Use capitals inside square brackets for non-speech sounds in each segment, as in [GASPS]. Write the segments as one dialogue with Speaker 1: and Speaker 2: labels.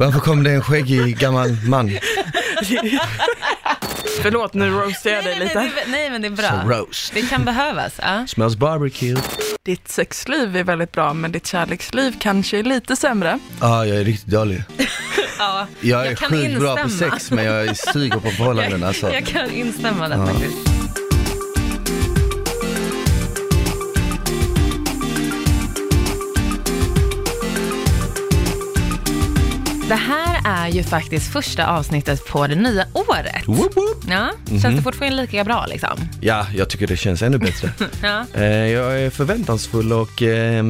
Speaker 1: Varför kom det en skäggig gammal man?
Speaker 2: [LAUGHS]
Speaker 3: [LAUGHS] Förlåt, nu roastade jag
Speaker 2: Nej,
Speaker 3: dig
Speaker 2: nej, nej,
Speaker 3: lite.
Speaker 2: det, nej, men det är
Speaker 1: Så
Speaker 2: bra.
Speaker 1: roast.
Speaker 2: Det kan behövas. Ja.
Speaker 1: Smells barbecue.
Speaker 3: Ditt sexliv är väldigt bra, men ditt kärleksliv kanske är lite sämre.
Speaker 1: Ja, jag är riktigt dålig.
Speaker 2: Ja,
Speaker 1: Jag är
Speaker 2: Jag kan
Speaker 1: sjukt bra på
Speaker 2: instämma.
Speaker 1: sex men jag suger på förhållanden alltså.
Speaker 2: jag kan instämma där faktiskt. Det här är ju faktiskt första avsnittet på det nya året.
Speaker 1: Woop woop.
Speaker 2: Ja, känns det fortfarande lika bra liksom?
Speaker 1: Ja, jag tycker det känns ännu bättre.
Speaker 2: [LAUGHS] Ja.
Speaker 1: Eh, Jag är förväntansfull och eh,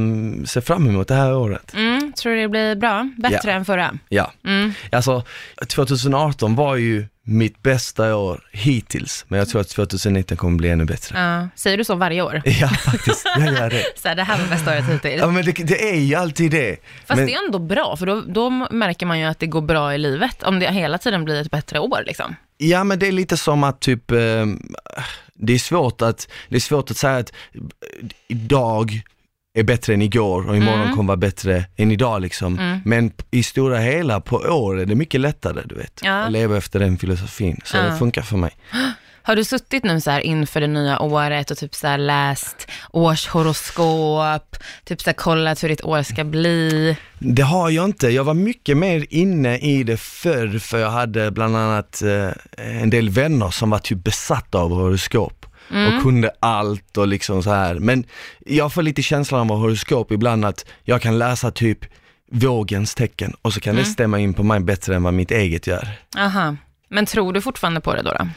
Speaker 1: ser fram emot det här året.
Speaker 2: Mm, tror du det blir bra? Bättre än förra?
Speaker 1: Ja,
Speaker 2: Mm.
Speaker 1: alltså 2018 var ju mitt bästa år hittills, men jag tror att 2019 kommer bli ännu bättre. [LAUGHS]
Speaker 2: Ja. Säger du så varje år?
Speaker 1: Ja, faktiskt. Jag gör det.
Speaker 2: Så här, det här var bästa året hittills.
Speaker 1: Ja, men det, det är ju alltid det.
Speaker 2: Fast
Speaker 1: men,
Speaker 2: det är ändå bra, för då, då märker man ju att det går bra i livet, om det hela tiden blir ett bättre år liksom.
Speaker 1: Ja, men det är lite som att typ, eh, det är svårt att, det är svårt att säga att eh, idag är bättre än igår och
Speaker 2: Mm.
Speaker 1: imorgon kommer vara bättre än idag liksom. Men i stora hela på år är det mycket lättare, du vet.
Speaker 2: Ja.
Speaker 1: Att leva efter den filosofin, så
Speaker 2: Ja.
Speaker 1: det funkar för mig.
Speaker 2: Har du suttit nu så här inför det nya året och typ så här läst årshoroskop, typ så här kollat hur ditt år ska bli?
Speaker 1: Det har jag inte. Jag var mycket mer inne i det förr för jag hade bland annat eh, en del vänner som var typ besatta av horoskop
Speaker 2: Mm.
Speaker 1: och kunde allt och liksom så här. Men jag får lite känslan av horoskop ibland att jag kan läsa typ vågens tecken och så kan det
Speaker 2: Mm.
Speaker 1: stämma in på mig bättre än vad mitt eget gör.
Speaker 2: Aha. Men tror du fortfarande på det då? då?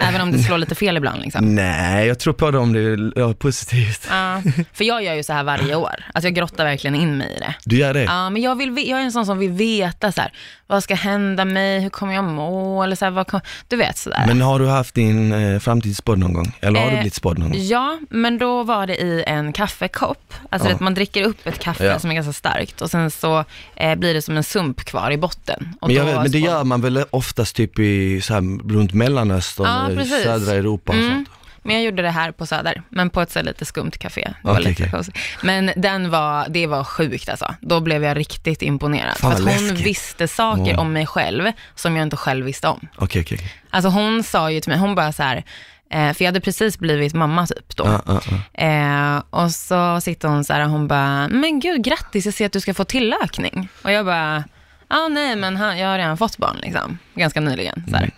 Speaker 2: Även om det slår lite fel ibland liksom?
Speaker 1: Nej, jag tror på det om det är positivt.
Speaker 2: Ja, för jag gör ju så här varje år, alltså jag grottar verkligen in mig i det.
Speaker 1: Du gör det?
Speaker 2: Ja, men jag, vill, ve- jag är en sån som vill veta så här, vad ska hända mig, hur kommer jag må, eller så här, vad kom, du vet sådär.
Speaker 1: Men har du haft din eh, framtid spådd någon gång? Eller har du
Speaker 2: Eh,
Speaker 1: blivit spådd någon gång?
Speaker 2: Ja, men då var det i en kaffekopp. Alltså
Speaker 1: Ja.
Speaker 2: att man dricker upp ett kaffe
Speaker 1: Ja.
Speaker 2: som är ganska starkt och sen så eh, blir det som en sump kvar i botten. Och
Speaker 1: Men, jag
Speaker 2: då
Speaker 1: vet, men det
Speaker 2: spån-
Speaker 1: gör man väl oftast typ i så här, runt Mellanöstern,
Speaker 2: Ja,
Speaker 1: eller
Speaker 2: precis. Mm.
Speaker 1: södra Europa och sånt.
Speaker 2: Men jag gjorde det här på Söder, men på ett så här lite skumt café. Det var
Speaker 1: Okej,
Speaker 2: lite
Speaker 1: okej.
Speaker 2: konstigt. Men den var, det var sjukt alltså. Då blev jag riktigt imponerad.
Speaker 1: Fan,
Speaker 2: för att
Speaker 1: vad
Speaker 2: hon
Speaker 1: läskigt. Mm.
Speaker 2: visste saker
Speaker 1: Wow.
Speaker 2: om mig själv som jag inte själv visste om.
Speaker 1: Okej, okej. okej.
Speaker 2: Alltså hon sa ju till mig, hon bara så här, eh, för jag hade precis blivit mamma typ då.
Speaker 1: Ja, ja, ja.
Speaker 2: Eh, och så sitter hon så här, hon bara, men gud grattis, jag ser att du ska få tillökning. Och jag bara, ja ah, nej men han, jag har redan fått barn liksom, ganska nyligen. Så här.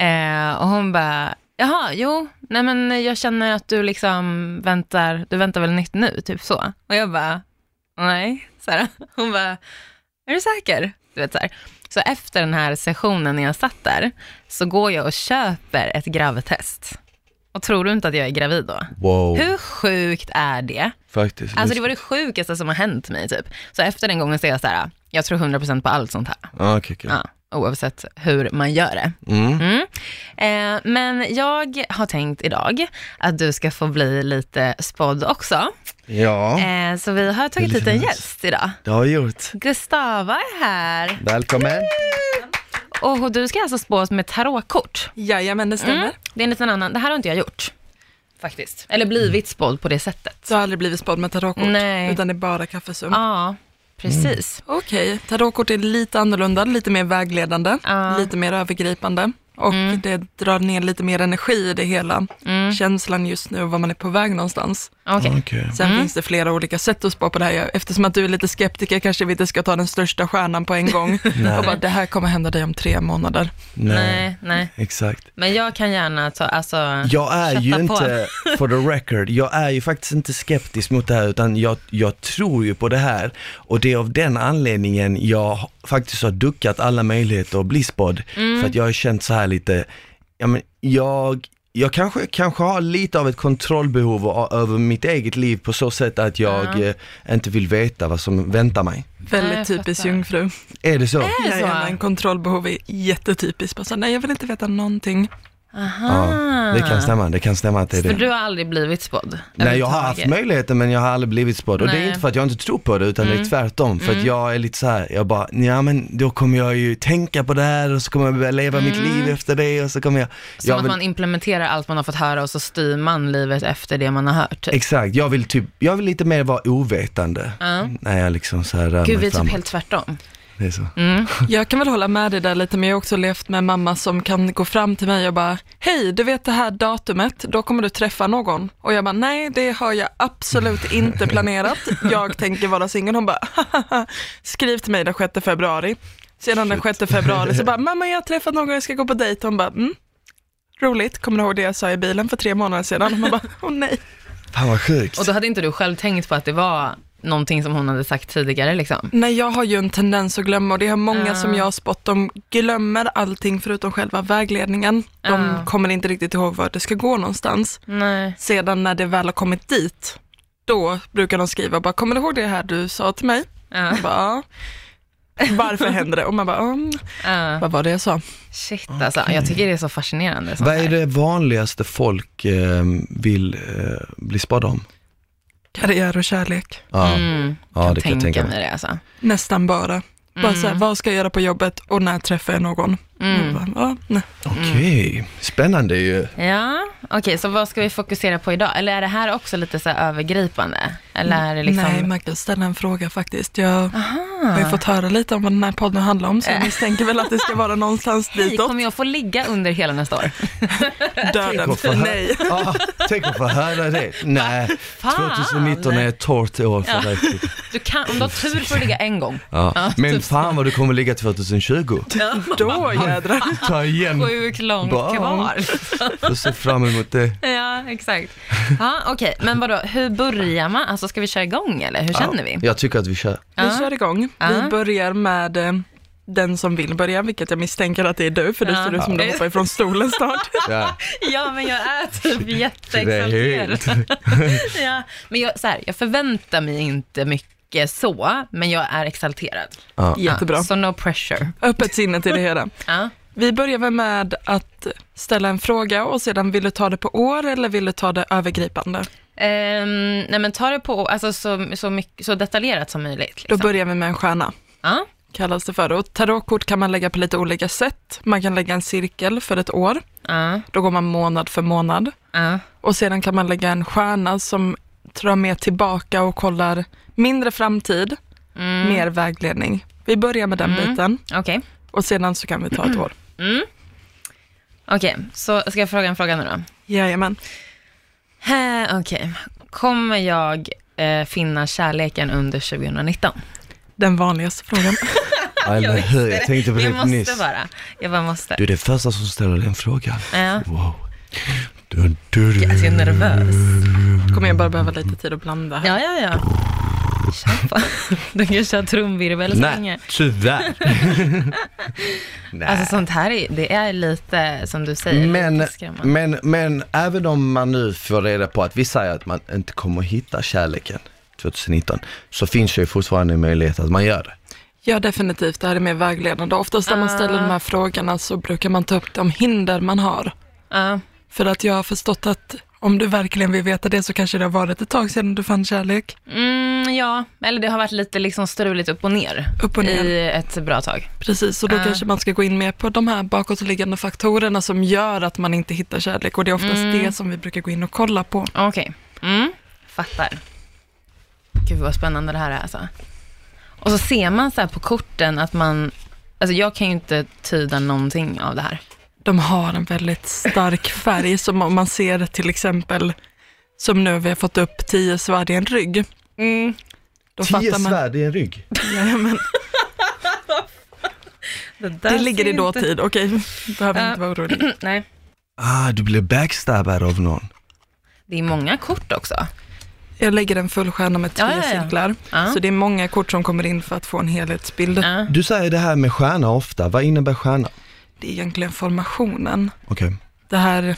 Speaker 2: Eh, och hon bara, jaha, jo, nej men jag känner att du liksom väntar, du väntar väl nytt nu, typ så. Och jag bara, nej, så här. Hon bara, är du säker? Du vet så här. Så efter den här sessionen när jag satt där, så går jag och köper ett gravtest. Och tror du inte att jag är gravid då?
Speaker 1: Wow,
Speaker 2: Hur sjukt är det?
Speaker 1: faktiskt.
Speaker 2: Alltså det var det sjukaste som har hänt mig typ. Så efter den gången så är jag så här, jag tror 100% på allt sånt här.
Speaker 1: Ja, okej, okej.
Speaker 2: Ja, oavsett hur man gör det.
Speaker 1: Mm.
Speaker 2: Mm. Eh, men jag har tänkt idag att du ska få bli lite spådd också.
Speaker 1: Ja,
Speaker 2: Eh, så vi har tagit
Speaker 1: Det är
Speaker 2: hit
Speaker 1: lite
Speaker 2: en
Speaker 1: nice.
Speaker 2: gäst idag.
Speaker 1: det har jag gjort.
Speaker 2: Gustava är här
Speaker 1: Välkommen.
Speaker 2: och du ska alltså spås med tarotkort. Mm.
Speaker 3: Jajamän, det stämmer.
Speaker 2: Det är en liten annan, det här har inte jag gjort. Faktiskt. Eller blivit spådd på det sättet.
Speaker 3: Du har aldrig blivit spådd med tarotkort,
Speaker 2: Nej.
Speaker 3: utan det är bara kaffesump.
Speaker 2: Ja, precis.
Speaker 3: Okej, tarotkort är lite annorlunda, lite mer vägledande,
Speaker 2: Ja.
Speaker 3: lite mer övergripande och det drar ner lite mer energi i det hela. Känslan just nu och var man är på väg någonstans.
Speaker 2: mm. Okej. [LAUGHS]
Speaker 1: Okej.
Speaker 3: Sen finns det flera olika sätt att spå på det här. Eftersom att du är lite skeptiker kanske vi inte ska ta den största stjärnan på en gång och bara det här kommer hända dig om tre månader.
Speaker 1: Nej.
Speaker 2: Nej, nej.
Speaker 1: Exakt.
Speaker 2: Men jag kan gärna ta, alltså,
Speaker 1: Jag är ju
Speaker 2: Kötta på. [LAUGHS]
Speaker 1: inte, for the record, jag är ju faktiskt inte skeptisk mot det här utan jag, jag tror ju på det här och det är av den anledningen jag h- faktiskt har duckat alla möjligheter att bli spådd.
Speaker 2: Mm.
Speaker 1: För att jag har känt så här lite, ja men jag, jag kanske, kanske har lite av ett kontrollbehov o- över mitt eget liv på så sätt att jag eh, inte vill veta vad som väntar mig.
Speaker 3: Väldigt
Speaker 2: Nej, jag
Speaker 3: typiskt
Speaker 2: fattar.
Speaker 3: jungfru.
Speaker 1: Är det så?
Speaker 2: Är det så?
Speaker 3: Jajamän, kontrollbehov är jättetypiskt. Bara så, här, nej, jag vill inte veta någonting.
Speaker 2: [LAUGHS] aha.
Speaker 1: Ja, det kan stämma, det kan stämma att det är
Speaker 2: Ah. För
Speaker 1: det.
Speaker 2: du har aldrig blivit spådd?
Speaker 1: Nej jag har haft
Speaker 2: överhuvudtaget.
Speaker 1: möjligheten men jag har aldrig blivit spådd och det är
Speaker 2: Nej. Mm.
Speaker 1: inte för att jag inte tror på det utan det är tvärtom för att jag är lite så här, jag bara, ja men då kommer jag ju tänka på det här och så kommer jag börja leva mitt liv efter det och så kommer jag,
Speaker 2: Mm. Som
Speaker 1: jag
Speaker 2: att
Speaker 1: vill,
Speaker 2: man implementerar allt man har fått höra och så styr man livet efter det man har hört. Typ.
Speaker 1: exakt, jag vill typ, jag vill lite mer vara ovetande
Speaker 2: Ja.
Speaker 1: när jag liksom så här rör
Speaker 2: Gud, vi
Speaker 1: mig
Speaker 2: är typ
Speaker 1: framåt.
Speaker 2: helt tvärtom. Mm.
Speaker 1: det är så.
Speaker 3: Jag kan väl hålla med dig där lite, men jag har också levt med en mamma som kan gå fram till mig och bara, hej, du vet det här datumet, då kommer du träffa någon. Och jag bara, nej, det har jag absolut inte planerat. Jag tänker vara singel. Hon bara, "Hahaha, skriv till mig den 6 februari. Sedan den 6 februari så bara, mamma, jag har träffat någon, jag ska gå på dejt. Hon bara, mm. Roligt, kommer du ihåg det jag sa i bilen för tre månader sedan? Och man bara, åh nej.
Speaker 1: Fan vad sjukt.
Speaker 2: Och då hade inte du själv tänkt på att det var någonting som hon hade sagt tidigare liksom?
Speaker 3: Nej, jag har ju en tendens att glömma och det har många
Speaker 2: Ja.
Speaker 3: som jag har spått, de glömmer allting förutom själva vägledningen. De
Speaker 2: Ja.
Speaker 3: kommer inte riktigt ihåg vart det ska gå någonstans.
Speaker 2: Nej.
Speaker 3: Sedan när det väl har kommit dit, då brukar de skriva bara, kommer du ihåg det här du sa till mig?
Speaker 2: Ja.
Speaker 3: Jag bara, "Ja." Varför hände det? Och man bara, "Mm,
Speaker 2: ja.
Speaker 3: vad var det jag sa?
Speaker 2: Shit alltså, jag tycker det är så fascinerande. sånt
Speaker 1: Vad är
Speaker 2: här.
Speaker 1: det vanligaste folk eh, vill eh, bli spådda om?
Speaker 3: Karriär och kärlek.
Speaker 1: Ja,
Speaker 2: Mm,
Speaker 1: ja det kan jag tänka mig.
Speaker 2: mig det alltså.
Speaker 3: Nästan bara. Bara så här, vad ska jag göra på jobbet och när träffar jag någon?
Speaker 2: Mm.
Speaker 3: Och Bara, "Ja, nej.
Speaker 1: Okej, spännande ju.
Speaker 2: Ja, okej, så vad ska vi fokusera på idag? Eller är det här också lite så här övergripande? Eller är det liksom...
Speaker 3: Nej, man kan ställa en fråga faktiskt. Jag
Speaker 2: Aha.
Speaker 3: har ju fått höra lite om vad den här podden handlar om, så jag misstänker väl att det ska vara någonstans
Speaker 2: Hej,
Speaker 3: ditåt.
Speaker 2: kommer jag få ligga under hela nästa år?
Speaker 3: Döden.
Speaker 1: Tänk att få hö-
Speaker 3: Nej.
Speaker 1: Ah, tänk att få höra det. Nej, 2019 är ett torrt år för
Speaker 2: Ja.
Speaker 1: dig.
Speaker 2: Du kan, om du har tur får du ligga en gång.
Speaker 1: Ja.
Speaker 2: typ
Speaker 1: Men fan vad du kommer ligga 2020.
Speaker 3: [LAUGHS] Då jädrar.
Speaker 1: Ta igen
Speaker 2: Sjukt långt
Speaker 1: Barn.
Speaker 2: kvar.
Speaker 1: och se fram emot det.
Speaker 2: Ja, exakt. Ja, okej, men vadå, hur börjar man? Alltså ska vi köra igång eller hur känner vi?
Speaker 1: Ja, jag tycker att vi kör.
Speaker 2: Ja.
Speaker 3: Vi kör igång.
Speaker 2: Ja.
Speaker 3: Vi börjar med eh, den som vill börja, vilket jag misstänker att det är du, för det
Speaker 2: Ja.
Speaker 3: ser ut som du hoppar ifrån stolen
Speaker 2: [LAUGHS]
Speaker 3: snart.
Speaker 1: Ja,
Speaker 2: Ja, men jag är typ
Speaker 1: det är helt...
Speaker 2: [LAUGHS] Ja. Men jag, så här, jag förväntar mig inte mycket så, men jag är exalterad.
Speaker 1: Ja.
Speaker 3: Jättebra.
Speaker 2: Ja, så no pressure.
Speaker 3: Öppet sinne till det hela.
Speaker 2: Ja.
Speaker 3: Vi börjar väl med att ställa en fråga och sedan vill du ta det på år eller vill du ta det övergripande?
Speaker 2: Ehm, nej men ta det på, alltså så, så, mycket, så detaljerat som möjligt.
Speaker 3: Då
Speaker 2: Liksom.
Speaker 3: börjar vi med en stjärna.
Speaker 2: Ja.
Speaker 3: kallas det för. Och tarotkort kan man lägga på lite olika sätt. Man kan lägga en cirkel för ett år,
Speaker 2: Ja.
Speaker 3: då går man månad för månad.
Speaker 2: Ja.
Speaker 3: Och sedan kan man lägga en stjärna som drar med tillbaka och kollar mindre framtid,
Speaker 2: Mm.
Speaker 3: mer vägledning. Vi börjar med den biten
Speaker 2: Okej.
Speaker 3: och sedan så kan vi
Speaker 2: [CLEARS THROAT]
Speaker 3: ta ett år.
Speaker 2: Okej, så ska jag fråga en fråga nu då?
Speaker 3: Jajamän.
Speaker 2: Eh, Okej. Kommer jag eh, finna kärleken under 2019?
Speaker 3: Den vanligaste
Speaker 2: [CLEARS THROAT]
Speaker 3: frågan.
Speaker 1: Aj, men hör, jag tänkte på
Speaker 2: jag
Speaker 1: det
Speaker 2: måste
Speaker 1: nyss.
Speaker 2: bara. Jag bara måste.
Speaker 1: Du är den första som ställer den frågan.
Speaker 2: Ja.
Speaker 1: Wow. Du, du, du.
Speaker 2: Alltså jag är nervös.
Speaker 3: Kommer jag bara behöva lite tid att blanda här.
Speaker 2: Ja, ja, ja. Kör på. [LAUGHS] Du kan köra trumvirvel så länge.
Speaker 1: Nej, tyvärr. Nej.
Speaker 2: Alltså sånt här är, det är lite som du säger,
Speaker 1: men,
Speaker 2: lite skrämmande.
Speaker 1: men, men även om man nu får reda på att vi säger att man inte kommer hitta kärleken 2019, så finns det ju fortfarande en möjlighet att man gör det.
Speaker 3: Ja, definitivt. Det här är mer vägledande. Oftast när man ställer de här
Speaker 2: Ah.
Speaker 3: frågorna så brukar man ta upp de hinder man har.
Speaker 2: Ja.
Speaker 3: För att jag har förstått att om du verkligen vill veta det så kanske det har varit ett tag sedan du fann kärlek.
Speaker 2: Mm, ja, eller det har varit lite liksom struligt upp och ner,
Speaker 3: Upp och ner.
Speaker 2: i ett bra tag.
Speaker 3: Precis, och då
Speaker 2: Ja.
Speaker 3: kanske man ska gå in mer på de här bakåtliggande faktorerna som gör att man inte hittar kärlek. Och det är oftast
Speaker 2: Mm.
Speaker 3: det som vi brukar gå in och kolla på.
Speaker 2: Okej, mm, fattar. Gud vad spännande det här är alltså. Och så ser man så här på korten att man, alltså jag kan ju inte tyda någonting av det här.
Speaker 3: De har en väldigt stark färg, som om man ser till exempel, som nu vi har fått upp tio svärd i en rygg. Mm. Då
Speaker 1: Tio
Speaker 3: fattar man,
Speaker 1: svärd i en rygg.
Speaker 2: Det,
Speaker 3: det ligger i dåtid, okej, behöver inte vara orolig.
Speaker 2: Nej.
Speaker 1: Ah, du blir backstabbad av någon.
Speaker 2: Det är många kort också.
Speaker 3: Jag lägger en full stjärna med tre
Speaker 2: Ja, ja, ja.
Speaker 3: cirklar,
Speaker 2: Ja.
Speaker 3: så det är många kort som kommer in för att få en helhetsbild.
Speaker 2: Ja.
Speaker 1: Du säger det här med stjärna ofta, vad innebär stjärna?
Speaker 3: Det är egentligen formationen.
Speaker 1: Okej,
Speaker 3: Det här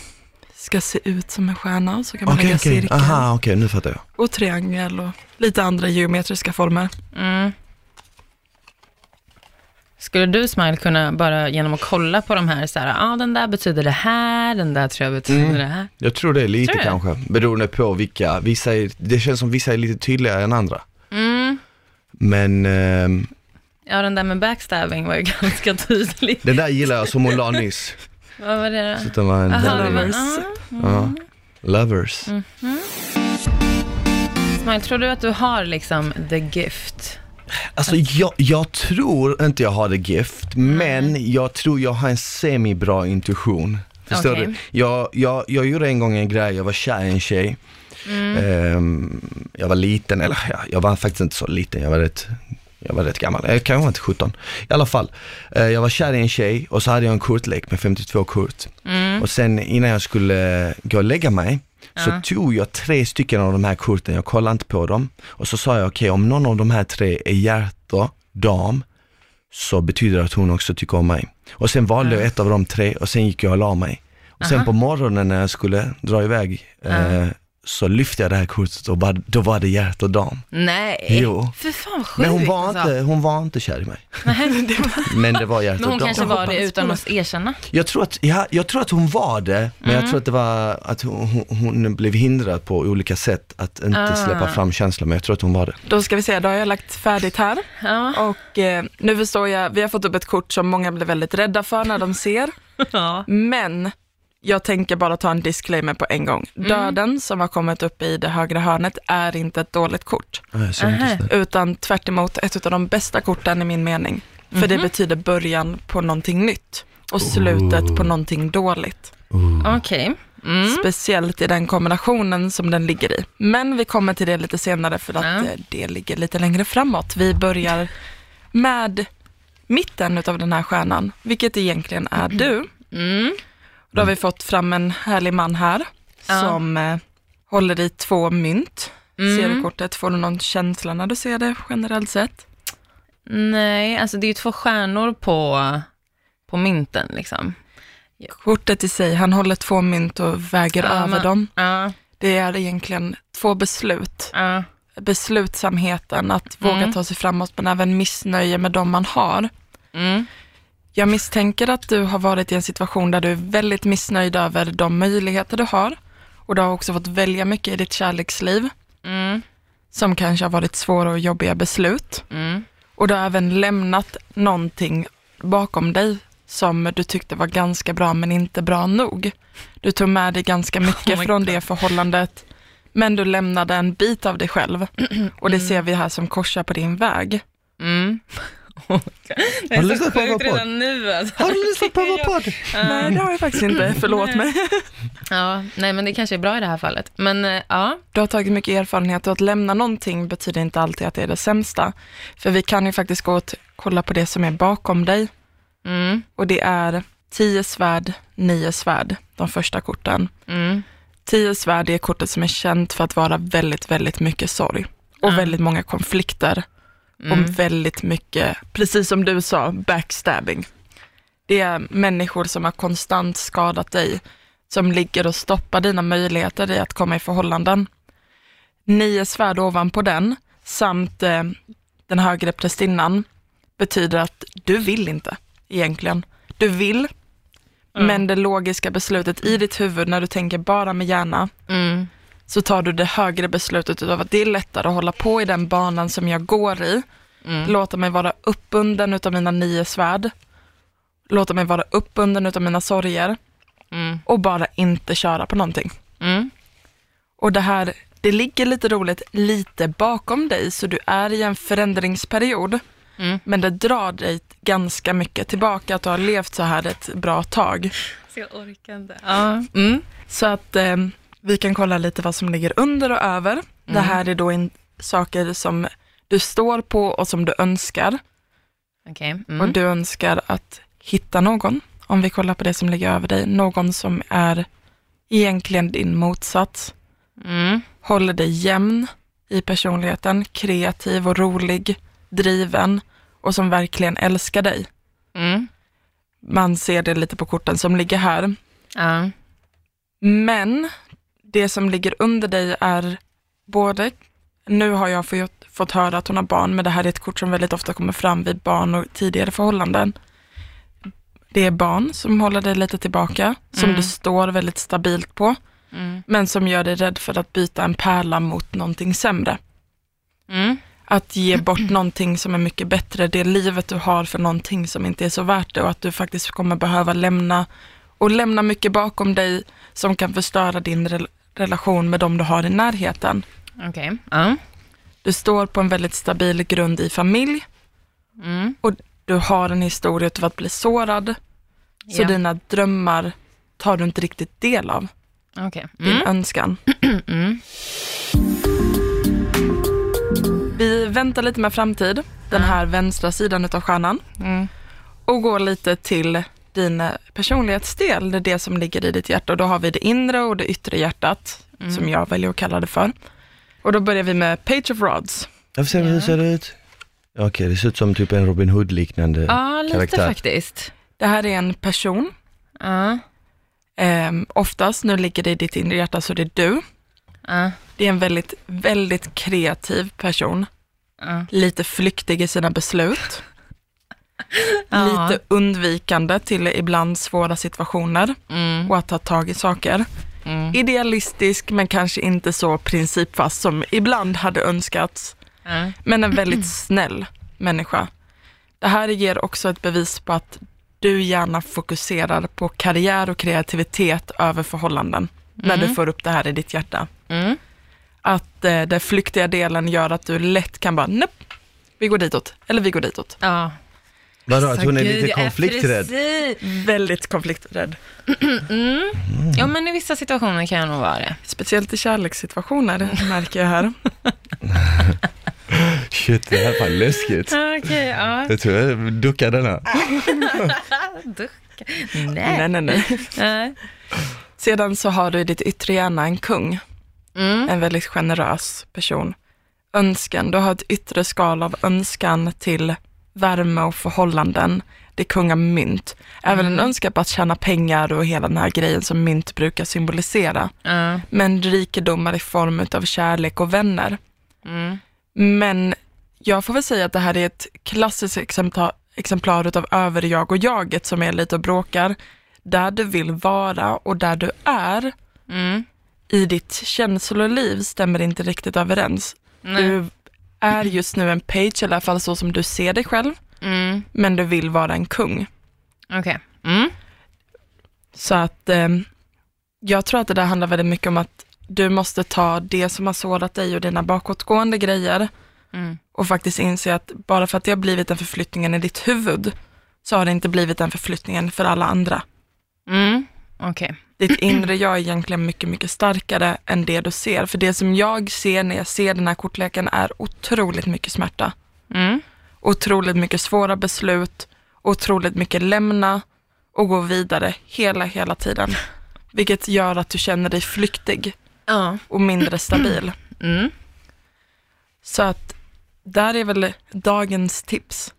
Speaker 3: ska se ut som en stjärna, och så kan man
Speaker 1: okej,
Speaker 3: lägga
Speaker 1: okej,
Speaker 3: cirkel.
Speaker 1: aha, okej, nu fattar jag.
Speaker 3: och triangel och lite andra geometriska former.
Speaker 2: Mm. Skulle du Smile kunna bara genom att kolla på de här så här, ja ah, den där betyder det här, den där tror jag betyder
Speaker 3: Mm.
Speaker 2: det här.
Speaker 1: Jag tror det är lite
Speaker 2: Tror du?
Speaker 1: kanske, beroende på vilka, vissa är, det känns som vissa är lite tydligare än andra.
Speaker 2: Mm.
Speaker 1: Men ehm,
Speaker 2: Ja den där med backstabbing var ju [LAUGHS] ganska tydlig.
Speaker 1: den där gillar jag som hon la
Speaker 2: [LAUGHS]
Speaker 1: nyss.
Speaker 2: Vad var det
Speaker 1: Så
Speaker 2: då?
Speaker 1: det var en
Speaker 2: Aha,
Speaker 3: det
Speaker 1: väldigt-
Speaker 3: var-
Speaker 2: men, ah.
Speaker 1: Ja. Lovers.
Speaker 2: Smile, tror du att du har liksom the gift?
Speaker 1: Alltså jag, jag tror inte jag har det gift, men jag tror jag har en semi-bra intuition. Förstår
Speaker 2: Okej.
Speaker 1: du? Jag, jag, jag gjorde en gång en grej, jag var kär i en tjej.
Speaker 2: Mm,
Speaker 1: Ehm, jag var liten, eller ja, jag var faktiskt inte så liten, jag var rätt, jag var rätt gammal, jag kanske var inte 17. I alla fall, eh, jag var kär i en tjej och så hade jag en kortlek med 52 kort.
Speaker 2: Mm.
Speaker 1: Och sen innan jag skulle gå och lägga mig, så tog jag tre stycken av de här korten, jag kollade inte på dem. Och så sa jag, okej om någon av de här tre är hjärta, dam, så betyder det att hon också tycker om mig. Och sen valde jag ett av de tre och sen gick jag och la mig. Och sen på morgonen när jag skulle dra iväg eh, så lyfte jag det här kortet och bara, då var det hjärta och dam.
Speaker 2: Nej.
Speaker 1: Jo.
Speaker 2: För fan vad Eh, sjukt.
Speaker 1: Men hon var,
Speaker 2: alltså. [LAUGHS]
Speaker 1: inte, hon var inte kär i mig. Men det var hjärta
Speaker 2: Men
Speaker 1: och
Speaker 2: hon
Speaker 1: dam.
Speaker 2: kanske var det
Speaker 3: hoppas
Speaker 2: utan
Speaker 3: på
Speaker 2: att erkänna.
Speaker 1: Jag tror, att, ja, jag tror att hon var det, men
Speaker 2: Mm.
Speaker 1: jag tror att det var att hon, hon- hon blev hindrad på olika sätt att inte
Speaker 2: Ah.
Speaker 1: släppa fram känslor, men jag tror att hon var det.
Speaker 3: Då ska vi se, då har jag lagt färdigt här.
Speaker 2: Ja.
Speaker 3: Och eh, nu förstår jag, vi har fått upp ett kort som många blir väldigt rädda för när de ser.
Speaker 2: ja.
Speaker 3: Men jag tänker bara ta en disclaimer på en gång.
Speaker 2: Mm.
Speaker 3: Döden som har kommit upp i det högra hörnet är inte ett dåligt kort,
Speaker 1: Ja, Ah, jag ser inte
Speaker 2: Aha.
Speaker 1: så där.
Speaker 3: utan tvärt emot ett av de bästa korten i min mening. För det
Speaker 2: Mhm.
Speaker 3: betyder början på någonting nytt och slutet på någonting dåligt.
Speaker 2: Okej. Mm.
Speaker 3: Speciellt i den kombinationen som den ligger i. Men vi kommer till det lite senare för att
Speaker 2: Ja.
Speaker 3: eh, det ligger lite längre framåt. Vi börjar med mitten av den här stjärnan, vilket egentligen är du.
Speaker 2: Mm.
Speaker 3: Då har vi fått fram en härlig man här
Speaker 2: Ja.
Speaker 3: som eh, håller i två mynt.
Speaker 2: Mm.
Speaker 3: Ser du kortet, får du någon känsla när du ser det generellt sett?
Speaker 2: Nej, alltså det är ju två stjärnor på, på mynten liksom.
Speaker 3: Kortet i sig, han håller två mynt och väger
Speaker 2: Ja,
Speaker 3: över
Speaker 2: men-
Speaker 3: dem.
Speaker 2: Ja,
Speaker 3: Det är egentligen två beslut.
Speaker 2: ja.
Speaker 3: Beslutsamheten, att våga
Speaker 2: Mm.
Speaker 3: ta sig framåt, men även missnöje med de man har.
Speaker 2: Mm.
Speaker 3: Jag misstänker att du har varit i en situation där du är väldigt missnöjd över de möjligheter du har. Och du har också fått välja mycket i ditt kärleksliv,
Speaker 2: Mm.
Speaker 3: som kanske har varit svåra och jobbiga beslut.
Speaker 2: Mm.
Speaker 3: Och du har även lämnat någonting bakom dig som du tyckte var ganska bra men inte bra nog. Du tog med dig ganska mycket
Speaker 2: Oh my
Speaker 3: från det förhållandet men du lämnade en bit av dig
Speaker 2: [CLEARS THROAT]
Speaker 3: själv och det ser vi här som korsar på din väg.
Speaker 2: Mm. [LAUGHS] Oh my God. det
Speaker 1: Har du
Speaker 2: är så
Speaker 1: lyssnat på vår
Speaker 2: sjukt
Speaker 1: podd?
Speaker 2: redan nu alltså.
Speaker 1: Har du lyssnat på vår podd?
Speaker 3: Nej, det har jag faktiskt
Speaker 2: [CLEARS THROAT]
Speaker 3: inte. Förlåt mig.
Speaker 2: Ja, nej men det kanske är bra i det här fallet. Men eh, ja,
Speaker 3: Du har tagit mycket erfarenhet och att lämna någonting betyder inte alltid att det är det sämsta. För vi kan ju faktiskt gå och t- kolla på det som är bakom dig
Speaker 2: mm.
Speaker 3: och det är 10 svärd, 9 svärd, de första korten.
Speaker 2: Mm.
Speaker 3: Tio svärd är kortet som är känt för att vara väldigt, väldigt mycket sorg och väldigt många konflikter och väldigt mycket, precis som du sa, backstabbing. Det är människor som har konstant skadat dig, som ligger och stoppar dina möjligheter i att komma i förhållanden. Nio svärd ovanpå den, samt eh, den högre prästinnan, betyder att du vill inte egentligen. Du vill, men det logiska beslutet i ditt huvud när du tänker bara med hjärna,
Speaker 2: Mm.
Speaker 3: så tar du det högre beslutet utav att det är lättare att hålla på i den banan som jag går i. Låta mig vara uppbunden utav mina nio svärd. Låta mig vara uppbunden utav mina sorger
Speaker 2: Mm.
Speaker 3: och bara inte köra på någonting.
Speaker 2: Mm.
Speaker 3: Och det här, det ligger lite roligt lite bakom dig, så du är i en förändringsperiod.
Speaker 2: Mm.
Speaker 3: Men det drar dig ganska mycket tillbaka att du har levt så här ett bra tag.
Speaker 2: Så jag orkar inte. Ja. Mm.
Speaker 3: Så att eh, vi kan kolla lite vad som ligger under och över. Det här är då in- saker som du står på och som du önskar.
Speaker 2: Okej.
Speaker 3: Och
Speaker 2: Mm.
Speaker 3: du önskar att hitta någon, om vi kollar på det som ligger över dig, någon som är egentligen din motsats,
Speaker 2: Mm.
Speaker 3: håller dig jämn i personligheten, kreativ och rolig, driven och som verkligen älskar dig.
Speaker 2: Mm.
Speaker 3: Man ser det lite på korten som ligger här.
Speaker 2: Ja.
Speaker 3: Men det som ligger under dig är både, nu har jag fått, fått höra att hon har barn, men det här är ett kort som väldigt ofta kommer fram vid barn och tidigare förhållanden. Det är barn som håller dig lite tillbaka, som du står väldigt stabilt på,
Speaker 2: Mm.
Speaker 3: men som gör dig rädd för att byta en pärla mot någonting sämre.
Speaker 2: Mm.
Speaker 3: Att ge bort någonting som är mycket bättre, det livet du har för någonting som inte är så värt det och att du faktiskt kommer behöva lämna och lämna mycket bakom dig som kan förstöra din rel- relation med de du har i närheten.
Speaker 2: Okej. Ja.
Speaker 3: Du står på en väldigt stabil grund i familj
Speaker 2: Mm.
Speaker 3: och du har en historia utav att bli sårad. Så
Speaker 2: Ja.
Speaker 3: dina drömmar tar du inte riktigt del av,
Speaker 2: Okej.
Speaker 3: din
Speaker 2: Mm.
Speaker 3: önskan.
Speaker 2: Mm.
Speaker 3: Vi väntar lite med framtid, den här vänstra sidan utav stjärnan.
Speaker 2: Mm.
Speaker 3: och går lite till din personlighetsdel, det är det som ligger i ditt hjärta. Och då har vi det inre och det yttre hjärtat,
Speaker 2: Mm.
Speaker 3: som jag väljer att kalla det för. Och då börjar vi med Page of Rods.
Speaker 1: Jag får se hur det ser ut. Okej, det ser ut som typ en Robin Hood-liknande
Speaker 2: Ja, lite
Speaker 1: karaktär.
Speaker 2: faktiskt.
Speaker 3: Det här är en person,
Speaker 2: Ja.
Speaker 3: ehm, oftast, nu ligger det i ditt inre hjärta så det är du.
Speaker 2: Ja.
Speaker 3: Det är en väldigt, väldigt kreativ person,
Speaker 2: Ja.
Speaker 3: lite flyktig i sina beslut,
Speaker 2: [LAUGHS] Ja.
Speaker 3: lite undvikande till ibland svåra situationer
Speaker 2: Mm.
Speaker 3: och att ta tag i saker.
Speaker 2: Mm.
Speaker 3: Idealistisk men kanske inte så principfast som ibland hade önskats.
Speaker 2: Ja.
Speaker 3: men en väldigt snäll människa. Det här ger också ett bevis på att du gärna fokuserar på karriär och kreativitet över förhållanden när du får upp det här i ditt hjärta.
Speaker 2: Mm.
Speaker 3: Att eh, den flyktiga delen gör att du lätt kan bara, nej, vi går ditåt, eller vi går ditåt.
Speaker 2: Ja.
Speaker 1: Vadå, att hon är
Speaker 2: Så gud,
Speaker 1: lite
Speaker 2: jag
Speaker 1: konflikträdd?
Speaker 2: precis- [CLEARS THROAT] Mm.
Speaker 3: Väldigt konflikträdd.
Speaker 2: Ja, men i vissa situationer kan jag nog vara det.
Speaker 3: Speciellt i kärlekssituationer märker jag här.
Speaker 1: Shit, det här är fan
Speaker 2: [LAUGHS]
Speaker 1: läskigt.
Speaker 2: Okej, ja.
Speaker 1: Jag tror jag duckar denna.
Speaker 2: Duck.
Speaker 3: Nej,
Speaker 2: Nej.
Speaker 3: nej, nej.
Speaker 2: Nej.
Speaker 3: Sedan så har du i ditt yttre hjärna en kung,
Speaker 2: Mm.
Speaker 3: en väldigt generös person. Önskan, du har ett yttre skal av önskan till värme och förhållanden. Det är kungamynt. Även en önskan på att tjäna pengar och hela den här grejen som mynt brukar symbolisera.
Speaker 2: Ja.
Speaker 3: Men rikedomar i form av kärlek och vänner.
Speaker 2: Mm.
Speaker 3: Men jag får väl säga att det här är ett klassiskt exemplar, exemplar utav överjag och jaget som är lite och bråkar. Där du vill vara och där du är
Speaker 2: Mm.
Speaker 3: i ditt känsloliv stämmer inte riktigt överens.
Speaker 2: Nej.
Speaker 3: Du är just nu en page, eller i alla fall så som du ser dig själv,
Speaker 2: Mm.
Speaker 3: men du vill vara en kung.
Speaker 2: Okej. Mm.
Speaker 3: Så att ehm, jag tror att det där handlar väldigt mycket om att du måste ta det som har sårat dig och dina bakåtgående grejer
Speaker 2: Mm.
Speaker 3: och faktiskt inse att bara för att det har blivit den förflyttningen i ditt huvud så har det inte blivit den förflyttningen för alla andra.
Speaker 2: Mm. Okej.
Speaker 3: Ditt inre jag är egentligen mycket, mycket starkare än det du ser. För det som jag ser när jag ser den här kortleken är otroligt mycket smärta.
Speaker 2: Mm.
Speaker 3: otroligt mycket svåra beslut, otroligt mycket lämna och gå vidare hela, hela tiden. Vilket gör att du känner dig flyktig
Speaker 2: Ja.
Speaker 3: och mindre stabil. [CLEARS THROAT]
Speaker 2: Mm.
Speaker 3: Så att där är väl dagens tips.